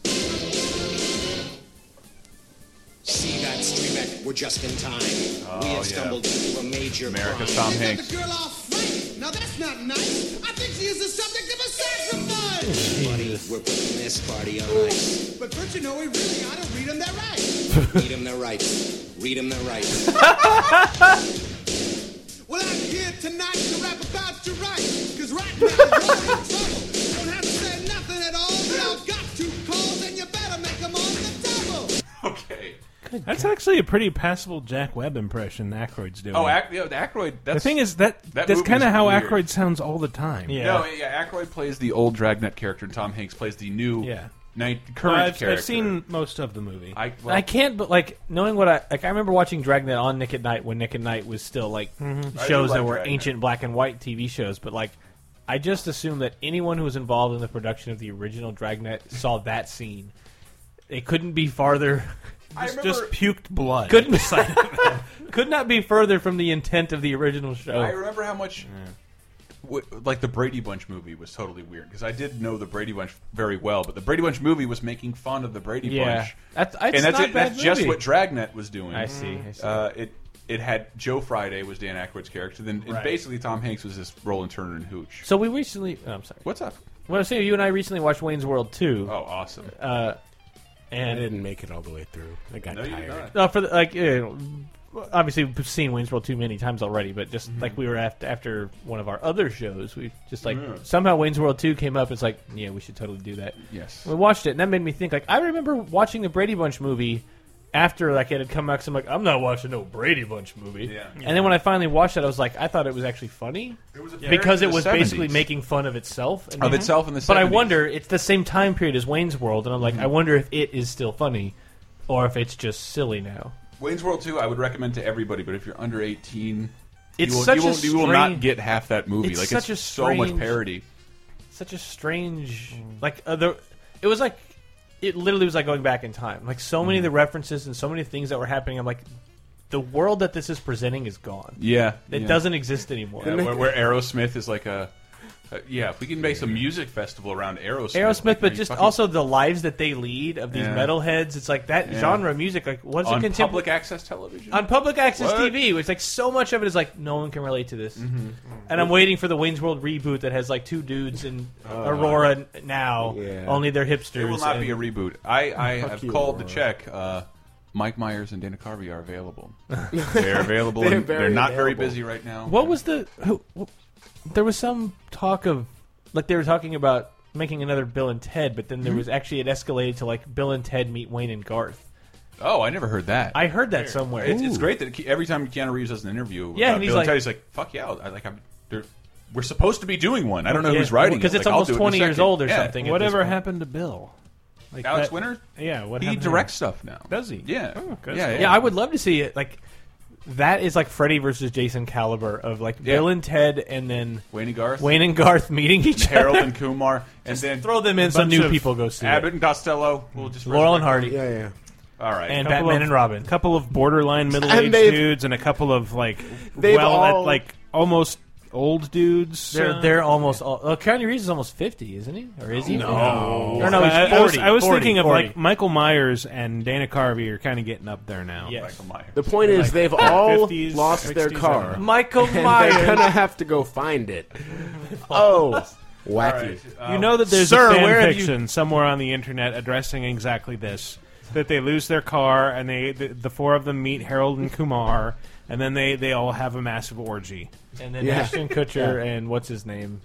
S20: See that, Strebeck? We're just in time. we
S3: yeah.
S20: have stumbled into a major
S3: America,
S20: crime.
S3: Tom
S20: They got
S3: Hanks.
S20: the girl off right. Now that's not nice. I think she is the subject of a sacrifice. Buddy, we're putting this party on ice. But don't you know we really ought to read them their rights. read them their rights. Read them their rights. Well, I'm here tonight to rap about your rights. Cause right now, you're in trouble. Don't have to say nothing at all. Y'all got two calls, and you better make them on the double.
S3: Okay.
S5: That's actually a pretty passable Jack Webb impression Aykroyd's doing.
S3: Oh, Ac yeah, Aykroyd.
S5: the
S3: That's,
S5: thing is that,
S3: that
S5: that's
S3: movie
S5: kind of
S3: is
S5: how
S3: weird.
S5: Aykroyd sounds all the time.
S3: No, yeah, Aykroyd plays the old Dragnet character, and Tom Hanks plays the new
S5: Yeah.
S3: Nine,
S6: Uh,
S3: current
S6: I've, I've
S3: character.
S6: seen most of the movie.
S3: I,
S6: And I can't, but like knowing what I like, I remember watching Dragnet on Nick at Night when Nick at Night was still like
S20: Oh,
S5: Mhm. I do
S6: shows that
S5: like
S6: were
S5: Dragnet.
S6: ancient black and white TV shows. But like, I just assumed that anyone who was involved in the production of the original Dragnet saw that scene. It couldn't be farther.
S5: I Just- just remember- puked blood.
S6: Couldn't
S5: Side
S6: could not be further from the intent of the original show.
S3: I remember how much, w like the Brady Bunch movie was totally weird because I did know the Brady Bunch very well, but the Brady Bunch movie was making fun of the Brady
S6: Yeah.
S3: Bunch.
S6: That's- it's
S3: and that's
S6: not a
S3: it,
S6: bad
S3: that's just
S6: movie.
S3: what Dragnet was doing.
S6: I see, I see.
S3: Uh, it it had Joe Friday was Dan Aykroyd's character. Then it
S6: Right.
S3: basically Tom Hanks was this Roland Turner and Hooch.
S6: So we recently. oh, I'm sorry.
S3: What's up?
S6: Well, I'm saying you and I recently watched Wayne's World 2.
S3: Oh, awesome!
S6: Uh, and
S4: I didn't make it all the way through. I got
S3: No, you did
S4: tired.
S6: No, for the, like, eh, obviously we've seen Wayne's World too many times already, but just
S3: Mm-hmm.
S6: like we were after, after one of our other shows, we just like
S3: Yeah.
S6: somehow Wayne's World two came up. It's like, yeah, we should totally do that.
S3: Yes.
S6: we watched it, and that made me think. Like, I remember watching the Brady Bunch movie after like it had come out. Cause I'm like, I'm not watching no Brady Bunch movie.
S3: Yeah.
S6: And then when I finally watched it, I was like, I thought it was actually funny
S3: It was a parody
S6: because
S3: to
S6: it
S3: the
S6: was basically
S3: 70s.
S6: making fun of itself and-
S3: Of itself in the Mm-hmm.
S6: But I
S3: 70s.
S6: wonder it's the same time period as Wayne's World, and I'm like, I wonder if it is still funny, or if it's just silly now.
S3: Wayne's World 2, I would recommend to everybody, but if you're under 18,
S6: It's
S3: you, will,
S6: such
S3: you,
S6: a
S3: won't, you will not
S6: strange-
S3: get half that movie.
S6: It's
S3: like
S6: such
S3: it's
S6: a
S3: so much
S6: strange-
S3: parody.
S6: Such a strange,
S3: Mm.
S6: like uh, the, it was like, it literally was like going back in time. Like so many of
S3: Mm-hmm.
S6: the references and so many things that were happening. I'm like, the world that this is presenting is gone.
S3: Yeah,
S6: it
S3: yeah.
S6: doesn't exist anymore.
S3: Yeah, where, where Aerosmith is like a, a- yeah. If we can make a music festival around Aerosmith,
S6: Aerosmith,
S3: like,
S6: but
S3: you
S6: just
S3: fucking-
S6: also the lives that they lead of these
S3: Yeah.
S6: metalheads. It's like that
S3: Yeah.
S6: genre of music. Like what's
S3: on
S6: it contempor-
S3: public access television.
S6: on public access
S3: What?
S6: TV, which like so much of it is like no one can relate to this.
S3: Mhm.
S6: And I'm waiting for the Wayne's World reboot that has like two dudes in
S3: Oh.
S6: Aurora n- now, only they're hipsters.
S3: It will not
S6: and-
S3: be a reboot. I, I
S6: Fuck
S3: have
S6: you,
S3: called
S6: Aurora.
S3: to check. Uh, Mike Myers and Dana Carvey are available. they're available.
S6: They're
S3: and
S6: very
S3: they're not very
S6: available.
S3: busy right now.
S6: What was the? Who, wh- there was some talk of like they were talking about making another Bill and Ted, but then there
S3: Mhm.
S6: was actually it escalated to like Bill and Ted meet Wayne and Garth.
S3: Oh, I never heard that.
S6: I heard that somewhere.
S3: It's, it's great that Ke- every time Keanu Reeves does an interview,
S6: Yeah,
S3: yeah,
S6: and he's
S3: Bill
S6: like-
S3: and Ted, he's like, "Fuck yeah!" I, like, I'm, they're- we're supposed to be doing one. I don't know
S6: Yeah,
S3: who's writing
S6: because
S3: it.
S6: it's
S3: Like, I'll
S6: almost
S3: do it in a
S6: 20 years
S3: second.
S6: old or
S3: Yeah.
S6: something.
S5: Whatever happened to Bill? Like
S3: Alex
S5: that-
S3: Winter?
S5: Yeah, what
S3: he
S5: happened to
S3: directs
S5: him?
S3: stuff now.
S5: Does he?
S3: Yeah.
S5: Oh, good
S3: yeah,
S5: stuff.
S3: yeah.
S6: Yeah, I would love to see it. Like that is like Freddy versus Jason caliber of like
S3: Yeah.
S6: Bill and Ted, and then
S3: Wayne and Garth,
S6: Wayne and Garth meeting each
S3: Harold
S6: other.
S3: and Kumar, and
S6: Just
S3: then
S6: throw them in, some
S3: Bunch
S6: new
S3: of
S6: people go see it.
S3: Abbott and Costello. We'll just
S6: Laurel and Hardy.
S4: Yeah, yeah.
S3: All right,
S6: And
S5: Couple
S6: Batman
S5: of-
S6: and Robin.
S5: couple of borderline middle
S4: And
S5: aged
S4: they've-
S5: dudes and a couple of like
S4: They've
S5: well
S4: all-
S5: like almost old dudes.
S6: They're
S5: uh,
S6: they're almost all. Well, Keanu Reeves is almost fifty, isn't he? Or is he?
S5: No,
S6: or no,
S5: I,
S6: he's
S5: I was,
S6: forty.
S5: I was
S6: 40,
S5: thinking of
S6: 40.
S5: like Michael Myers and Dana Carvey are kind of getting up there now.
S6: Yes. Michael
S3: Myers.
S4: The point is,
S5: Like,
S4: they've all
S5: 50s,
S4: lost their
S5: 60s, I
S4: car.
S5: don't know.
S6: Michael
S4: and
S6: Myers.
S4: They're gonna have to go find it. oh, wacky!
S6: Oh.
S5: You know that there's
S4: Sir,
S5: a fan
S4: where have you-
S5: fiction somewhere on the internet addressing exactly this: that they lose their car and they the, the four of them meet Harold and Kumar, and then they they all have a massive orgy.
S6: And then Ashton Kutcher and what's his name?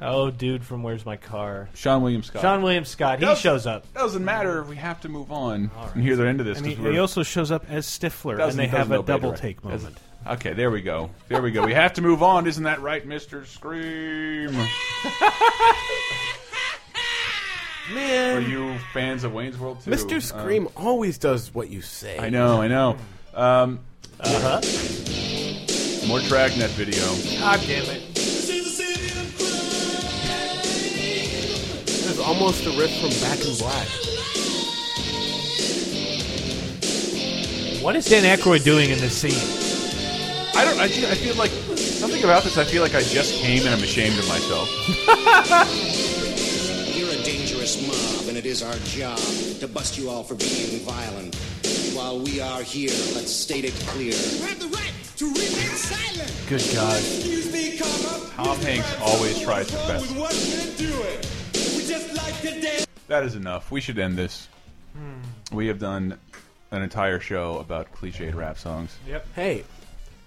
S6: Oh, dude from Where's My Car?
S3: Sean William
S5: Uh,
S3: Scott.
S6: Sean William Scott. He
S3: Doesn't-
S6: shows up.
S3: Doesn't matter if we have to move on and hear the end of this.
S5: And
S3: 'cause
S5: he,
S3: we're-
S5: he also shows up as Stifler, and
S3: doesn't-
S5: they have
S3: doesn't
S5: a
S3: obey
S5: double
S3: direct-
S5: take moment.
S3: doesn't- Okay, there we go. There we go. We have to move on. Isn't that right, Mister Scream?
S4: Man.
S3: Are you fans of Wayne's World too?
S4: Mr. Scream always does what you say.
S3: Um, I know. I know. Um, uh huh. More Dragnet video.
S6: God damn it!
S4: There's almost a riff from Back in Black.
S6: What is Dan Aykroyd doing in this scene?
S3: I don't. I, ju- I feel like something about this. I feel like I just came and I'm ashamed of myself.
S8: You're a dangerous mob, and it is our job to bust you all for being violent. While we are here, let's state it clear.
S21: You have the right to remain silent.
S3: Good God.
S21: Excuse me, comma.
S3: Tom Hanks always tries his best.
S21: What can I do it? We just like to dance.
S3: That is enough. We should end this. We have done an entire show about cliched rap songs.
S6: Yep.
S4: Hey,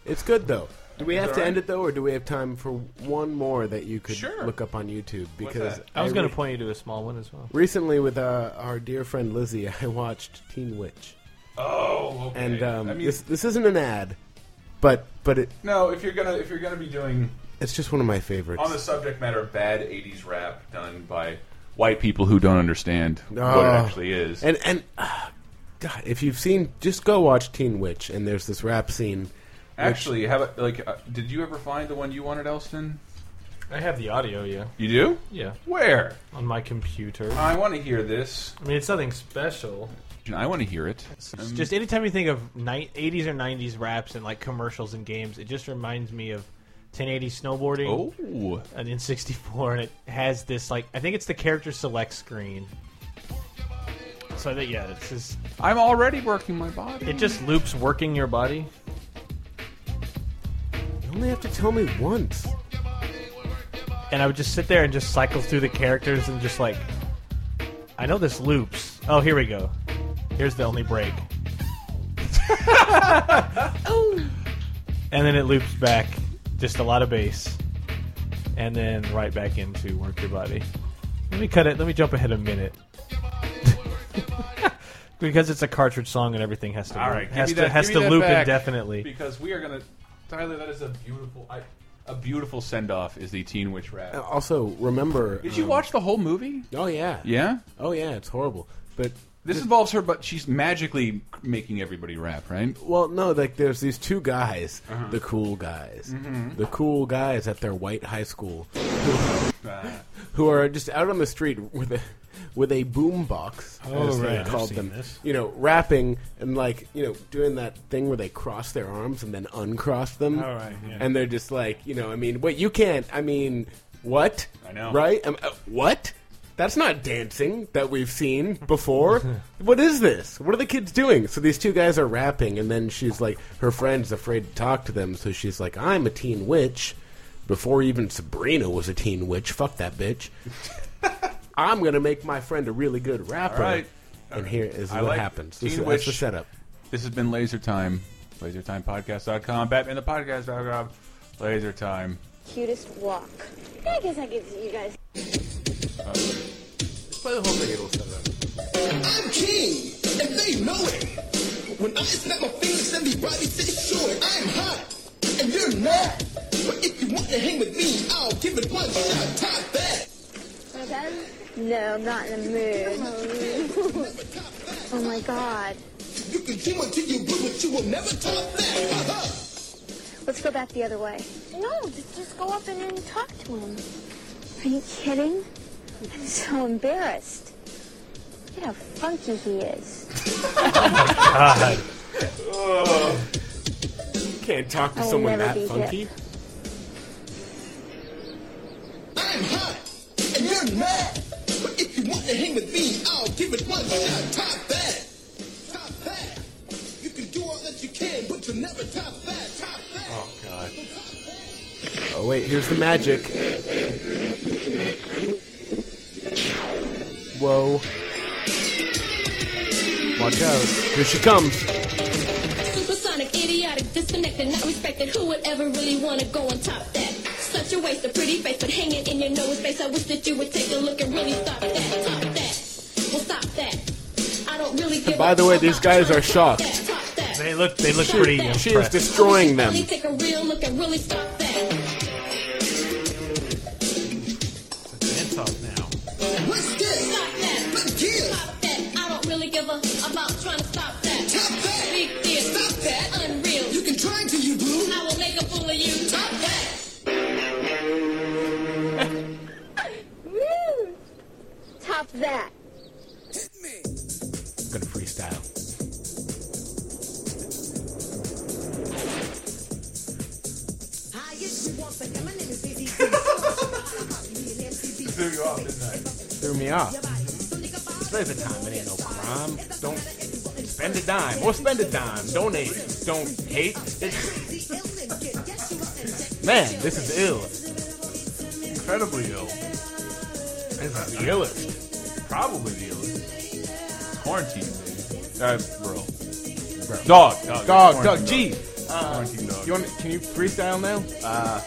S4: it's good though. Do we
S6: Is
S4: have
S6: it
S4: to
S6: all
S4: end it though, or do we have time for one more that you could look up on YouTube? Because
S6: I was going
S4: re-
S6: to point you to a small one as well.
S4: recently with uh, our dear friend Lizzie, I watched Teen Witch.
S3: Oh, okay.
S4: And um,
S3: I mean-
S4: this this isn't an ad, but but it
S3: No, if you're gonna if you're gonna be doing
S4: it's just one of my favorites.
S3: on the subject matter of bad '80s rap done by white people who don't understand what it
S4: Oh.
S3: actually is.
S4: And and ah, God, if you've seen, just go watch Teen Witch, and there's this rap scene. which-
S3: Actually, have a- like, uh, did you ever find the one you wanted, Elston?
S6: I have the audio, yeah.
S3: You do?
S6: Yeah.
S3: Where?
S6: On my computer.
S3: I want to hear this.
S6: I mean, it's nothing special.
S3: I want to hear it. Um,
S6: Just anytime you think of ni- 80s or 90s raps and like commercials and games, it just reminds me of 1080 snowboarding.
S3: Oh.
S6: And in 64, and it has this like I think it's the character select screen. So that yeah, it's just
S3: I'm already working my body.
S6: it just loops working your body.
S4: You only have to tell me once.
S6: and I would just sit there and just cycle through the characters and just like, I know this loops. Oh, here we go. Here's the only break. And then it loops back, just a lot of bass, and then right back into work your body. Let me cut it. Let me jump ahead a minute. Because it's a cartridge song and everything has to
S3: All
S6: loop-
S3: right, give
S6: has
S3: me
S6: to
S3: that-
S6: has
S3: give
S6: to
S3: me that
S6: loop
S3: back,
S6: indefinitely.
S3: Because we are gonna, Tyler. That is a beautiful, I, a beautiful send off. Is the Teen Witch rap?
S4: Uh, Also, remember.
S3: Did you
S4: um,
S3: watch the whole movie?
S4: Oh yeah.
S3: Yeah?
S4: Oh yeah. It's horrible. But
S3: This involves her, but she's magically making everybody rap, right?
S4: Well, no, like there's these two guys,
S3: Uh-huh.
S4: the cool guys,
S5: Mm-hmm.
S3: Mhm.
S4: the cool guys at their white high school, who, who are just out on the street with a with a boom box,
S5: Oh,
S4: as
S5: right,
S4: they
S5: I've
S4: called
S5: seen
S4: them,
S5: this.
S4: you know, rapping and like you know doing that thing where they cross their arms and then uncross them,
S5: All right, yeah.
S4: and they're just like, you know, I mean, wait, you can't, I mean, what? I
S3: know.
S4: right? Um, uh, what? That's not dancing that we've seen before. what is this? What are the kids doing? So these two guys are rapping, and then she's like, her friend's afraid to talk to them, so she's like, I'm a teen witch. Before even Sabrina was a teen witch, fuck that bitch. I'm gonna make my friend a really good rapper.
S3: right.
S4: And here is
S3: I
S4: what
S3: like
S4: happens.
S3: Teen
S4: This is,
S3: Witch.
S4: that's the setup.
S3: This has been Laser Time, LaserTimePodcast.com, BatmanThePodcast.com, Laser Time.
S2: Cutest walk. I guess I give you guys.
S3: Uh,
S4: Play the whole thing, it'll set up.
S20: I'm king, and they know it. When I snap my fingers, everybody says sure. I'm hot, and you're not. But if you want to hang with me, I'll give it one shot. Top that.
S2: No, I'm not in the mood. oh my god.
S20: You can do until you blue, but you will never top that. Uh-huh.
S2: Let's go back the other way. No, just, just go up and then talk to him. Are you kidding? I'm so embarrassed. Look at how funky he is.
S4: God. You can't talk to
S2: I will
S4: someone
S2: never
S4: that
S2: be
S4: funky.
S20: and you're mad. But if you want to hang with me, I'll give it one shot. Top that. Top that. You can do all that you can, but you'll never top that. Top that.
S4: Oh god. Oh wait, here's the magic. Whoa. Watch out. Here she comes.
S22: Supersonic, idiotic, disconnected, not respected. Who would ever really want to go on top of that? Such a waste of pretty face, but hanging in your nose face. I wish that you would take a look and really stop that. Stop that. Well, stop that. I don't really give
S4: By the way, these guys are shocked.
S6: They look they look
S4: She-
S6: pretty.
S4: She is
S6: impressed.
S4: destroying them.
S22: Really take a real look and really stop that.
S6: Dance off now.
S22: What's this? Stop that. Stop that. I don't really give a about trying to stop that. Stop that. Big deal. Stop that. Unreal. You can try to you blue. I will make a fool of you. Stop that.
S2: Woo! Top that.
S4: Gonna freestyle.
S23: Hi, yes, you want some M&M is easy.
S3: Threw you off, didn't I?
S4: Threw me off. Spend the time, it ain't no crime. Don't spend a dime or spend a dime. Donate. Don't hate. Man, this is ill.
S3: Incredibly ill. It's the illest. Probably the illest. Quarantine, baby. Uh, bro. Dog, dog,
S4: Dog,
S3: quarantine
S4: dog, G. Uh,
S3: Quarantine dog.
S4: You want, can you freestyle now?
S3: Uh,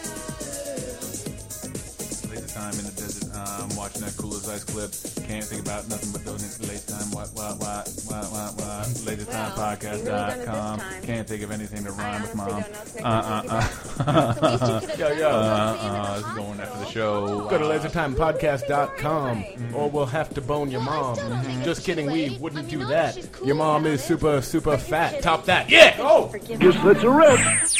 S3: laser time in the desert. Uh, I'm watching that cool as ice clip. Can't think about nothing but those late time. What, what, what, what, what, what? Latest
S2: Well,
S3: time
S2: you really done it this
S3: podcast.com.
S2: time.
S3: Can't think of anything to rhyme with
S2: honestly
S3: mom.
S2: don't know if Nick
S3: Uh, uh, uh.
S4: Yo, yo.
S3: Uh, uh, this is going after the show.
S4: Go to lasertimepodcast.com or we'll have to bone your mom. Just kidding, we wouldn't do that. Your mom is super, super fat. Top that. Yeah! Oh!
S2: Just let's
S4: a rip.